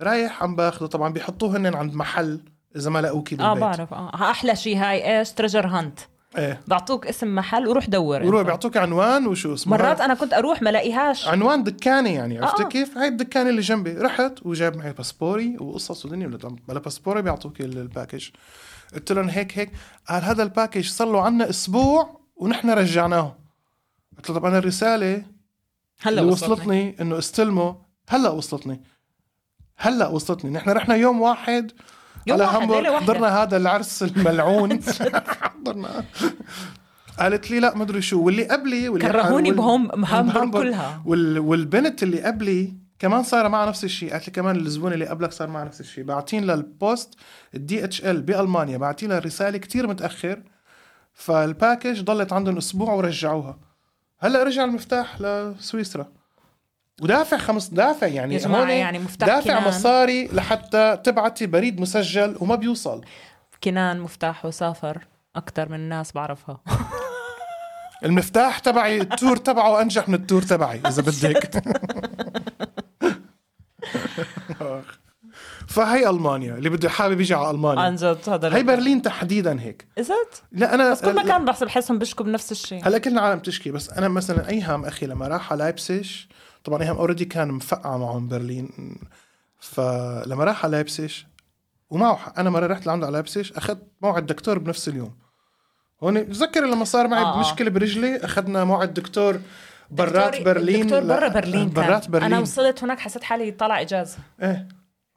رايح عم باخده طبعا بيحطوه هن عند محل اذا ما لقوكي
اه
بالبيت
بعرف اه احلى شيء هاي ايش تريجر هانت
ايه
بعطوك اسم محل وروح دور
وروح
أنت.
بيعطوك عنوان وشو اسمه
مرات انا كنت اروح ما لاقيهاش
عنوان دكانه يعني عرفتي
آه.
كيف؟ هاي الدكانه اللي جنبي رحت وجاب معي باسبوري وقصص ودنيا ولا- بلا باسبوري بيعطوك ال- الباكج قلت لهم هيك هيك قال هذا الباكج صار له عنا اسبوع ونحن رجعناه قلت له طب انا الرساله
هلا
اللي
وصلتني
وصلتني انه استلموا هلا وصلتني هلا وصلتني نحن رحنا يوم واحد
يوم
على
واحد، ليلة
هامبورغ
واحدة.
حضرنا هذا العرس الملعون حضرنا قالت لي لا مدري شو واللي قبلي واللي
كرهوني
وال-
بهم هامبورغ
بهامبورغ.
كلها
وال... والبنت اللي قبلي كمان صار معها نفس الشيء قالت لي كمان الزبون اللي قبلك صار معها نفس الشيء باعتين للبوست الدي اتش ال بالمانيا باعتين لها رساله كتير متاخر فالباكج ضلت عندهم اسبوع ورجعوها هلا رجع المفتاح لسويسرا ودافع خمس دافع يعني
يا جماعة
هون
يعني مفتاح
دافع
كنان.
مصاري لحتى تبعتي بريد مسجل وما بيوصل
كنان مفتاحه سافر اكثر من ناس بعرفها
المفتاح تبعي التور تبعه انجح من التور تبعي اذا بدك فهي المانيا اللي بده حابب يجي على
عن
المانيا
جد هذا
هي برلين تحديدا هيك
ازت
لا انا
بس كل مكان بحسب بحسهم بيشكوا بنفس الشيء
هلا كل العالم تشكي بس انا مثلا ايهام اخي لما راح على لايبسيش طبعا ايهام اوريدي كان مفقع معهم برلين فلما راح على لايبسيش ومعه حق. انا مره رحت لعنده على لايبسيش اخذت موعد دكتور بنفس اليوم هون بتذكر لما صار معي
آه، آه.
آه. مشكله برجلي اخذنا موعد دكتور برات
دكتور-
برلين
دكتور
لا،
برا برلين كان.
برات برلين
انا وصلت هناك حسيت حالي طالع اجازه
ايه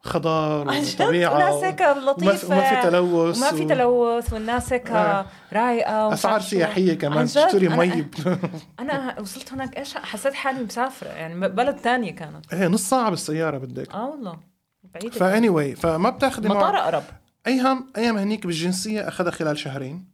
خضار
عن جد
وطبيعه
وناس هيك لطيفة
وما في تلوث
وما في
و-
تلوث والناس هيك
آه.
رايقه ومش
اسعار
عارف شو.
سياحيه كمان
عن جد،
تشتري
أنا-
مي
انا وصلت هناك ايش حسيت حالي مسافره يعني بلد ثانيه كانت
ايه نص ساعه بالسياره بدك
اه والله بعيده
فاني anyway فما بتاخذي
المطار اقرب
ايهام ايهام هنيك بالجنسيه اخذها خلال شهرين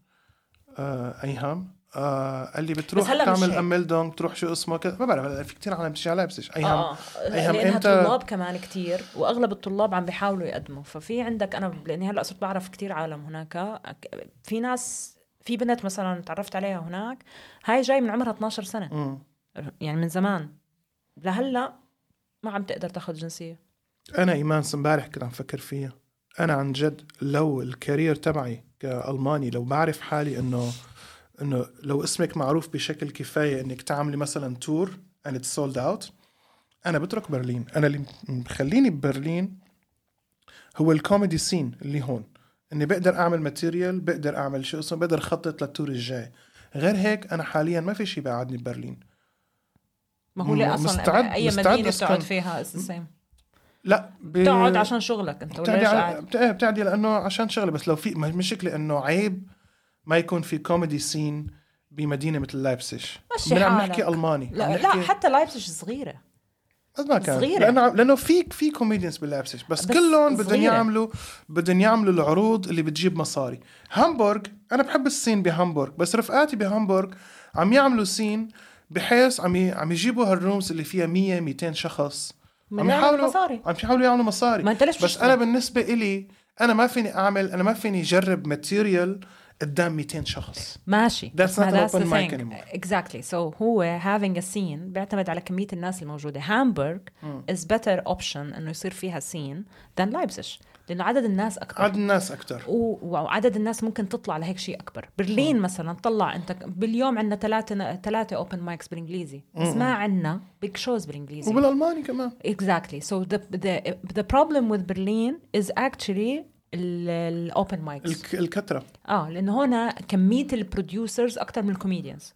آه ايهام آه قال لي بتروح
هلا مش
تعمل
هيك.
امل دونج تروح شو اسمه كذا ما بعرف هلا في كثير عالم بتشتغل على بسش ايهام
اه
آه.
آه.
أيهم
لانها
إمتى؟
طلاب كمان كتير واغلب الطلاب عم بيحاولوا يقدموا ففي عندك انا لاني هلا صرت بعرف كتير عالم هناك في ناس في بنت مثلا تعرفت عليها هناك هاي جاي من عمرها 12 سنه يعني من زمان لهلا ما عم تقدر تاخذ جنسيه
انا ايمان امبارح كنت عم فكر فيها انا عن جد لو الكارير تبعي كالماني لو بعرف حالي انه انه لو اسمك معروف بشكل كفايه انك تعملي مثلا تور and it's sold out انا بترك برلين انا اللي مخليني ببرلين هو الكوميدي سين اللي هون اني بقدر اعمل ماتيريال بقدر اعمل شو اسمه بقدر اخطط للتور الجاي غير هيك انا حاليا ما في شيء بقعدني ببرلين
ما هو ليه اصلا
مستعد-
اي
مستعد
مدينه
أسكن.
بتقعد فيها is the same.
لا ب...
بتقعد عشان شغلك انت ولا
بتعدي
ليش
على
قاعد
بت- إيه بتعدي لانه عشان شغله بس لو في ما- مشكله انه عيب ما يكون في كوميدي سين بمدينه مثل لايبسش
مشي
من عم
حالك.
نحكي الماني عم
لا
نحكي
لا حتى لايبسج صغيره
قد ما كان
صغيرة.
لانه لانه في في كوميديانز بلايبسج بس,
بس
بس كلهم بدهم
صغيرة.
يعملوا بدهم يعملوا العروض اللي بتجيب مصاري هامبورغ انا بحب السين بهامبورغ بس رفقاتي بهامبورغ عم يعملوا سين بحيث عم ي- عم يجيبوا هالرومز اللي فيها 100 200 شخص
بدهم
عم
يعملوا
يحاولوا
مصاري.
عم يحاولوا يعملوا مصاري
ما انت ليش
بس
بتشتغل؟
انا بالنسبه إلي انا ما فيني اعمل انا ما فيني اجرب ماتيريال قدام 200 شخص
ماشي
That's not an
ما
open
the
mic
thing.
anymore.
Exactly. So هو having a scene بيعتمد على كمية الناس الموجودة. هامبورغ
Mm.
is better option انه يصير فيها scene than لايبزيش لانه عدد الناس اكبر.
عدد الناس اكثر
و- وعدد الناس ممكن تطلع لهيك شيء اكبر برلين
Mm.
مثلا طلع انت ك- باليوم عندنا ثلاثه ثلاثه اوبن مايكس بالانجليزي بس ما عندنا بيج شوز بالانجليزي
وبالالماني كمان
Exactly. So the the the problem with Berlin is actually الاوبن مايكس
الك- الكثره
اه لانه هنا كميه البروديوسرز اكثر من الكوميديانز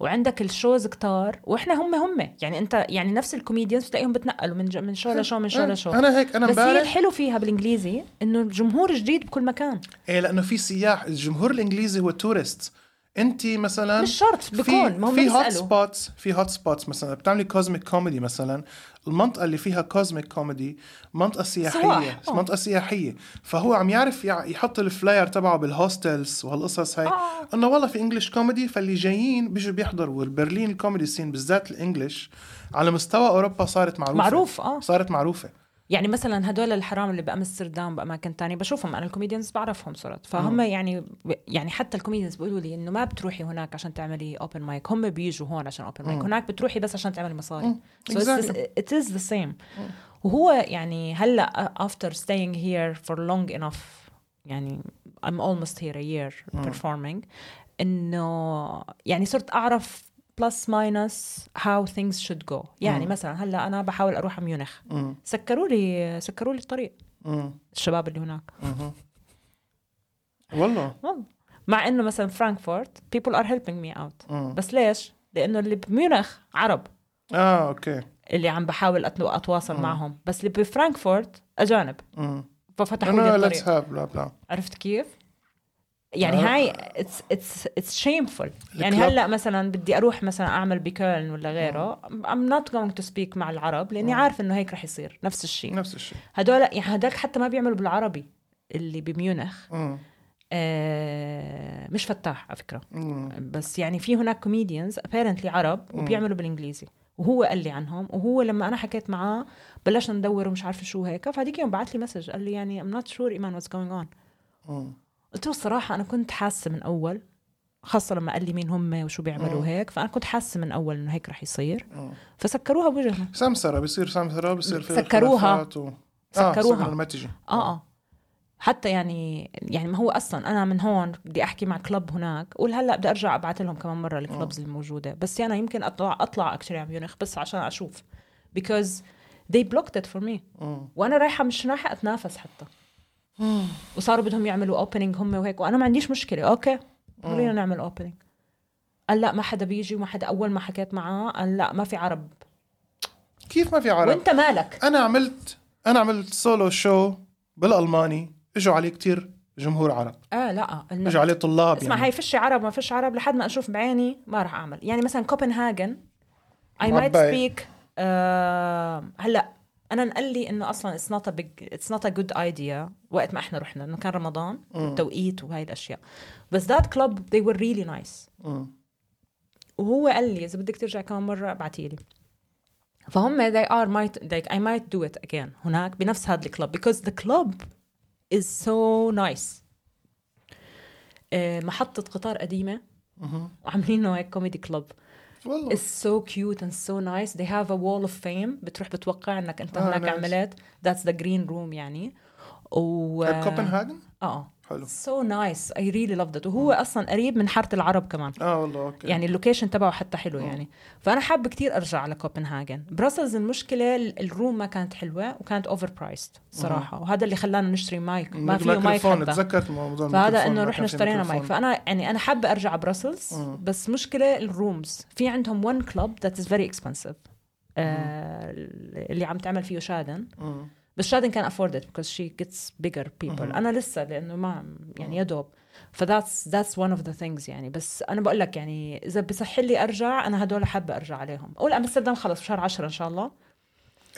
وعندك الشوز كتار واحنا هم هم يعني انت يعني نفس الكوميديانز بتلاقيهم بتنقلوا من ج- من شو لشو من شو لشو
انا إيه. هيك انا
بس هي
امبارح
الحلو فيها بالانجليزي انه الجمهور جديد بكل مكان
ايه لانه في سياح الجمهور الانجليزي هو تورست انت مثلا
مش شرط بكون ما هم
في هوت
بيسالوا
سبوتس في هوت سبوتس مثلا بتعملي كوزميك كوميدي مثلا المنطقه اللي فيها كوزميك كوميدي منطقه سياحيه
سواح، آه.
منطقه سياحيه فهو عم يعرف يع- يحط الفلاير تبعه بالهوستلز وهالقصص هاي
آه.
انه والله في انجلش كوميدي فاللي جايين بيجوا بيحضروا البرلين الكوميدي سين بالذات الانجلش على مستوى اوروبا صارت معروفه
معروف، آه.
صارت معروفه
يعني مثلا هدول الحرام اللي بامستردام باماكن تانية بشوفهم انا الكوميديانز بعرفهم صرت فهم يعني يعني حتى الكوميديانز بيقولوا لي انه ما بتروحي هناك عشان تعملي اوبن مايك هم بيجوا هون عشان اوبن مايك هناك بتروحي بس عشان تعملي مصاري سو ات از ذا سيم وهو يعني هلا after staying here for long enough يعني I'm almost here a year performing انه يعني صرت اعرف بلس ماينس هاو ثينجز شود جو يعني مثلا هلا انا بحاول اروح على ميونخ سكروا لي سكروا لي الطريق
امم
الشباب اللي هناك
والله
والله مع انه مثلا فرانكفورت people are helping me out
مم.
بس ليش لانه اللي بميونخ عرب
اه اوكي
اللي عم بحاول أت- اتواصل
آه.
معهم بس اللي بفرانكفورت اجانب
امم
ففتحوا لي
انه ليتس
الطريق
هاف بلا بلا
عرفت كيف يعني
آه.
هاي اتس اتس اتس شيمفول يعني
الكلاب.
هلا مثلا بدي اروح مثلا اعمل بكيرن ولا غيره
آه.
I'm not going to speak مع العرب لاني عارف انه هيك رح يصير نفس الشيء
نفس الشيء
هدول يعني هداك حتى ما بيعملوا بالعربي اللي بميونخ
مم.
آه مش فتاح على فكره
مم.
بس يعني في هناك كوميديانز ابيرنتلي عرب وبيعملوا بالانجليزي وهو قال لي عنهم وهو لما انا حكيت معاه بلشنا ندور ومش عارفه شو هيك فهذيك يوم بعت لي مسج قال لي يعني ام نوت شور ايمان واتس جوينج اون
مم.
قلت له الصراحه انا كنت حاسه من اول خاصه لما قال لي مين هم وشو بيعملوا هيك فانا كنت حاسه من اول انه هيك رح يصير
مم.
فسكروها بوجهنا
سمسرة بيصير سمسرة بيصير في
سكروها.
خلافات و...
سكروها.
آه لما تجي
اه اه حتى يعني يعني ما هو اصلا انا من هون بدي احكي مع كلب هناك قول هلا بدي ارجع ابعث لهم كمان مره
آه.
الكلبز الموجوده بس انا يمكن اطلع اطلع اكشلي على ميونخ يعني بس عشان اشوف because they blocked it for me
مم.
وانا رايحه مش رايحه اتنافس حتى وصاروا بدهم يعملوا اوبننج هم وهيك وانا ما عنديش مشكله اوكي
آه.
خلينا نعمل اوبننج قال لا ما حدا بيجي وما حدا اول ما حكيت معاه قال لا ما في عرب
كيف ما في عرب
وانت مالك
انا عملت انا عملت سولو شو بالالماني اجوا عليه كتير جمهور عرب
اه لا إنه-
اجوا عليه طلاب يعني.
اسمع هاي فش عرب ما فش عرب لحد ما اشوف بعيني ما راح اعمل يعني مثلا كوبنهاجن اي مايت
مربعي.
سبيك هلا انا انقال لي انه اصلا اتس نوت اتس نوت ا جود ايديا وقت ما احنا رحنا انه كان رمضان والتوقيت وهاي الاشياء بس ذات كلب they were really nice
مم.
وهو قال لي اذا بدك ترجع كمان مره ابعتي لي فهم they are might like I might do it again هناك بنفس هذا الكلب because the club is so nice آه، محطة قطار قديمة
مهم.
وعاملينه هيك كوميدي كلوب
والله
is so cute and so nice they have a wall of fame بتروح بتوقع انك انت
آه،
هناك
nice.
عملت that's the green room يعني و
طيب كوبنهاجن
اه
حلو
so nice I really loved it وهو
Mm.
اصلا قريب من حارة العرب كمان
اه والله اوكي
يعني اللوكيشن تبعه حتى
آه.
حلو يعني فانا حابه كتير ارجع على كوبنهاجن براسلز المشكله ال- الروم ما كانت حلوه وكانت اوفر برايسد
آه.
صراحه وهذا اللي خلانا نشتري مايك ما
ميك-
فيه مايك
ميكروفون
حتى
تذكرت موضوع
فهذا
الميكروفون،
انه
ما كان
رحنا
في
اشترينا مايك
ميكروفون.
فانا يعني انا حابه ارجع على براسلز
مم.
بس مشكله الرومز في عندهم ون كلوب ذات از فيري اكسبنسيف آه، اللي عم تعمل فيه شادن
مم.
بس شادن كان افوردت because she gets bigger people
مهم.
انا لسه لانه ما يعني يا دوب فذاتس ذاتس ون اوف ذا ثينجز يعني بس انا بقول لك يعني اذا بصح لي ارجع انا هدول حابه ارجع عليهم اول امستردام خلص بشهر 10 ان شاء الله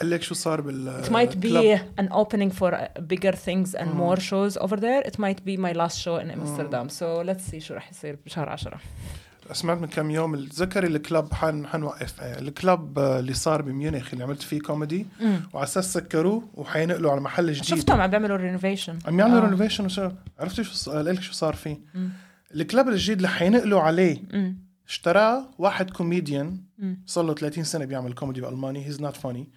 قال لك شو صار بال
it might
Uh, club.
be an opening for uh, bigger things and more shows over there it might be my last show in amsterdam so let's see شو رح يصير بشهر 10
سمعت من كم يوم تذكري الكلب حن حنوقف آه، الكلب آه، اللي صار بميونخ اللي عملت فيه كوميدي وعلى اساس سكروه وحينقلوا على محل جديد
شفتهم عم بيعملوا رينوفيشن
عم يعملوا رينوفيشن وشو عرفتي شو صار لك شو صار فيه الكلب الجديد اللي حينقلوا عليه اشتراه واحد كوميديان
مم.
صار له 30 سنه بيعمل كوميدي بالماني هيز نوت فاني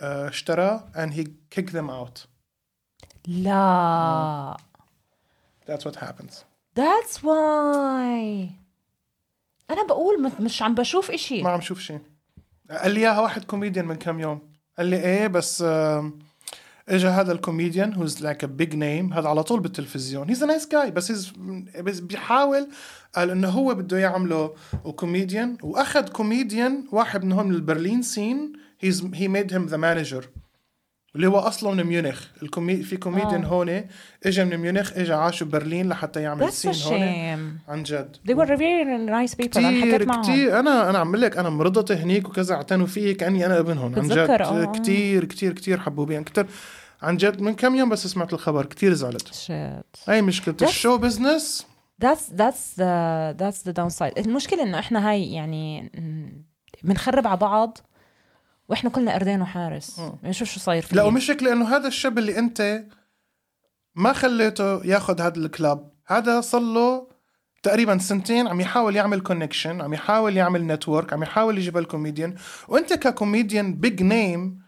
آه، اشتراه and he kicked them out
لا
that's what happens
that's why انا بقول مت- مش عم بشوف اشي
ما عم شوف شيء قال لي اياها واحد كوميديان من كم يوم قال لي ايه بس آم، اجى هذا الكوميديان who's like a big name هذا على طول بالتلفزيون he's a nice guy بس he's بس بيحاول قال انه هو بده يعمله وكوميديان واخذ كوميديان واحد منهم من البرلين سين he's he made him the manager اللي هو اصلا من ميونخ الكومي في كوميديان
آه.
هون اجى من ميونخ اجى عاش ببرلين لحتى يعمل
that's a
سين هون
shame
عن جد
they were very nice people انا حكيت
كتير
معهم
كتير انا انا عم لك انا مرضت هنيك وكذا اعتنوا فيي كاني انا ابنهم عن
بتذكر، آه.
جد كتير كتير كتير حبوا بي يعني كتير عن جد من كم يوم بس سمعت الخبر كتير زعلت
Shit.
هاي مشكله
بس-
الشو بزنس
that's that's the that's the downside المشكلة انه احنا هاي يعني بنخرب على بعض واحنا كلنا قردين وحارس يعني شوف شو صاير فينا
لا ومشكله انه هذا الشاب اللي انت ما خليته ياخذ هذا الكلاب هذا صار له تقريبا سنتين عم يحاول يعمل كونكشن عم يحاول يعمل نتورك عم يحاول يجيب الكوميديان وانت ككوميديان بيج نيم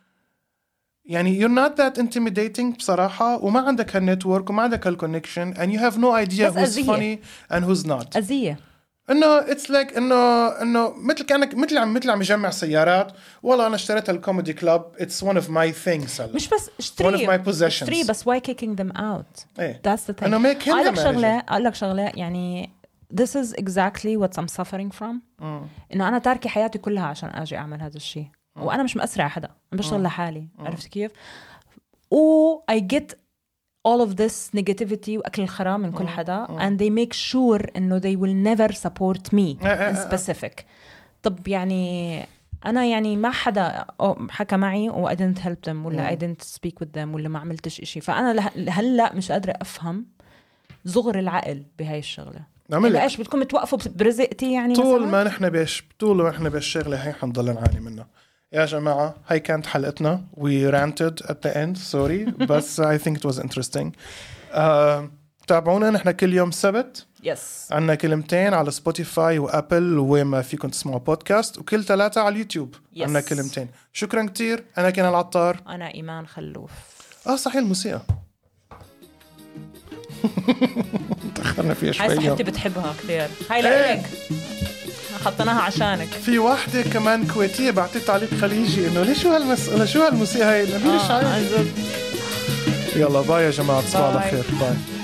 يعني you're not that intimidating بصراحة وما عندك هالنتورك وما عندك هالكونكشن and you have no idea
بس
who's
أذية.
funny and who's not
اذية
انه اتس لايك انه انه مثل كانك مثل عم مثل عم يجمع سيارات والله انا اشتريت هالكوميدي كلاب اتس ون اوف ماي ثينجز هلا
مش بس
One of
اشتري
my possessions.
اشتري بس why kicking them out
ايه
That's the thing.
إنه make him
أقول
the
لك شغلة
manager.
أقول لك شغلة يعني this is exactly what I'm suffering from إنه أنا تاركة حياتي كلها عشان أجي أعمل هذا الشيء وأنا مش مأسرع حدا أنا بشتغل لحالي عرفت كيف؟ و I get all of this negativity وأكل الخرا من كل حدا and they make sure إنه they will never support me
آه، آه،
in
آه.
specific طب يعني أنا يعني ما حدا أو- حكى معي و I didn't help them ولا I didn't speak with them ولا ما عملتش إشي فأنا لح- لهلا مش قادرة أفهم صغر العقل بهاي الشغله
نعمل
إنه
لك.
ايش بدكم توقفوا بس- برزقتي يعني
طول
مثلاً؟
ما نحن بيش طول ما نحن بالشغله هي حنضل نعاني منها يا جماعة هاي كانت حلقتنا we ranted at the end sorry بس I think it was interesting uh, تابعونا نحن كل يوم سبت
يس
عندنا كلمتين على سبوتيفاي وابل وين ما فيكم تسمعوا بودكاست وكل ثلاثه على اليوتيوب
Yes.
عندنا كلمتين شكرا كثير انا كان العطار
انا ايمان خلوف
اه صحيح الموسيقى تاخرنا فيها
هاي
شوي
صاحبتي بتحبها كثير هاي
إيه.
لك حطيناها عشانك
في واحدة كمان كويتية بعتت تعليق خليجي انه ليش شو هالمسألة
嗯
شو هالموسيقى هاي لأنه ليش
آه،
عارف
عن جد.
يلا باي يا جماعة تصبحوا على
باي.
خير باي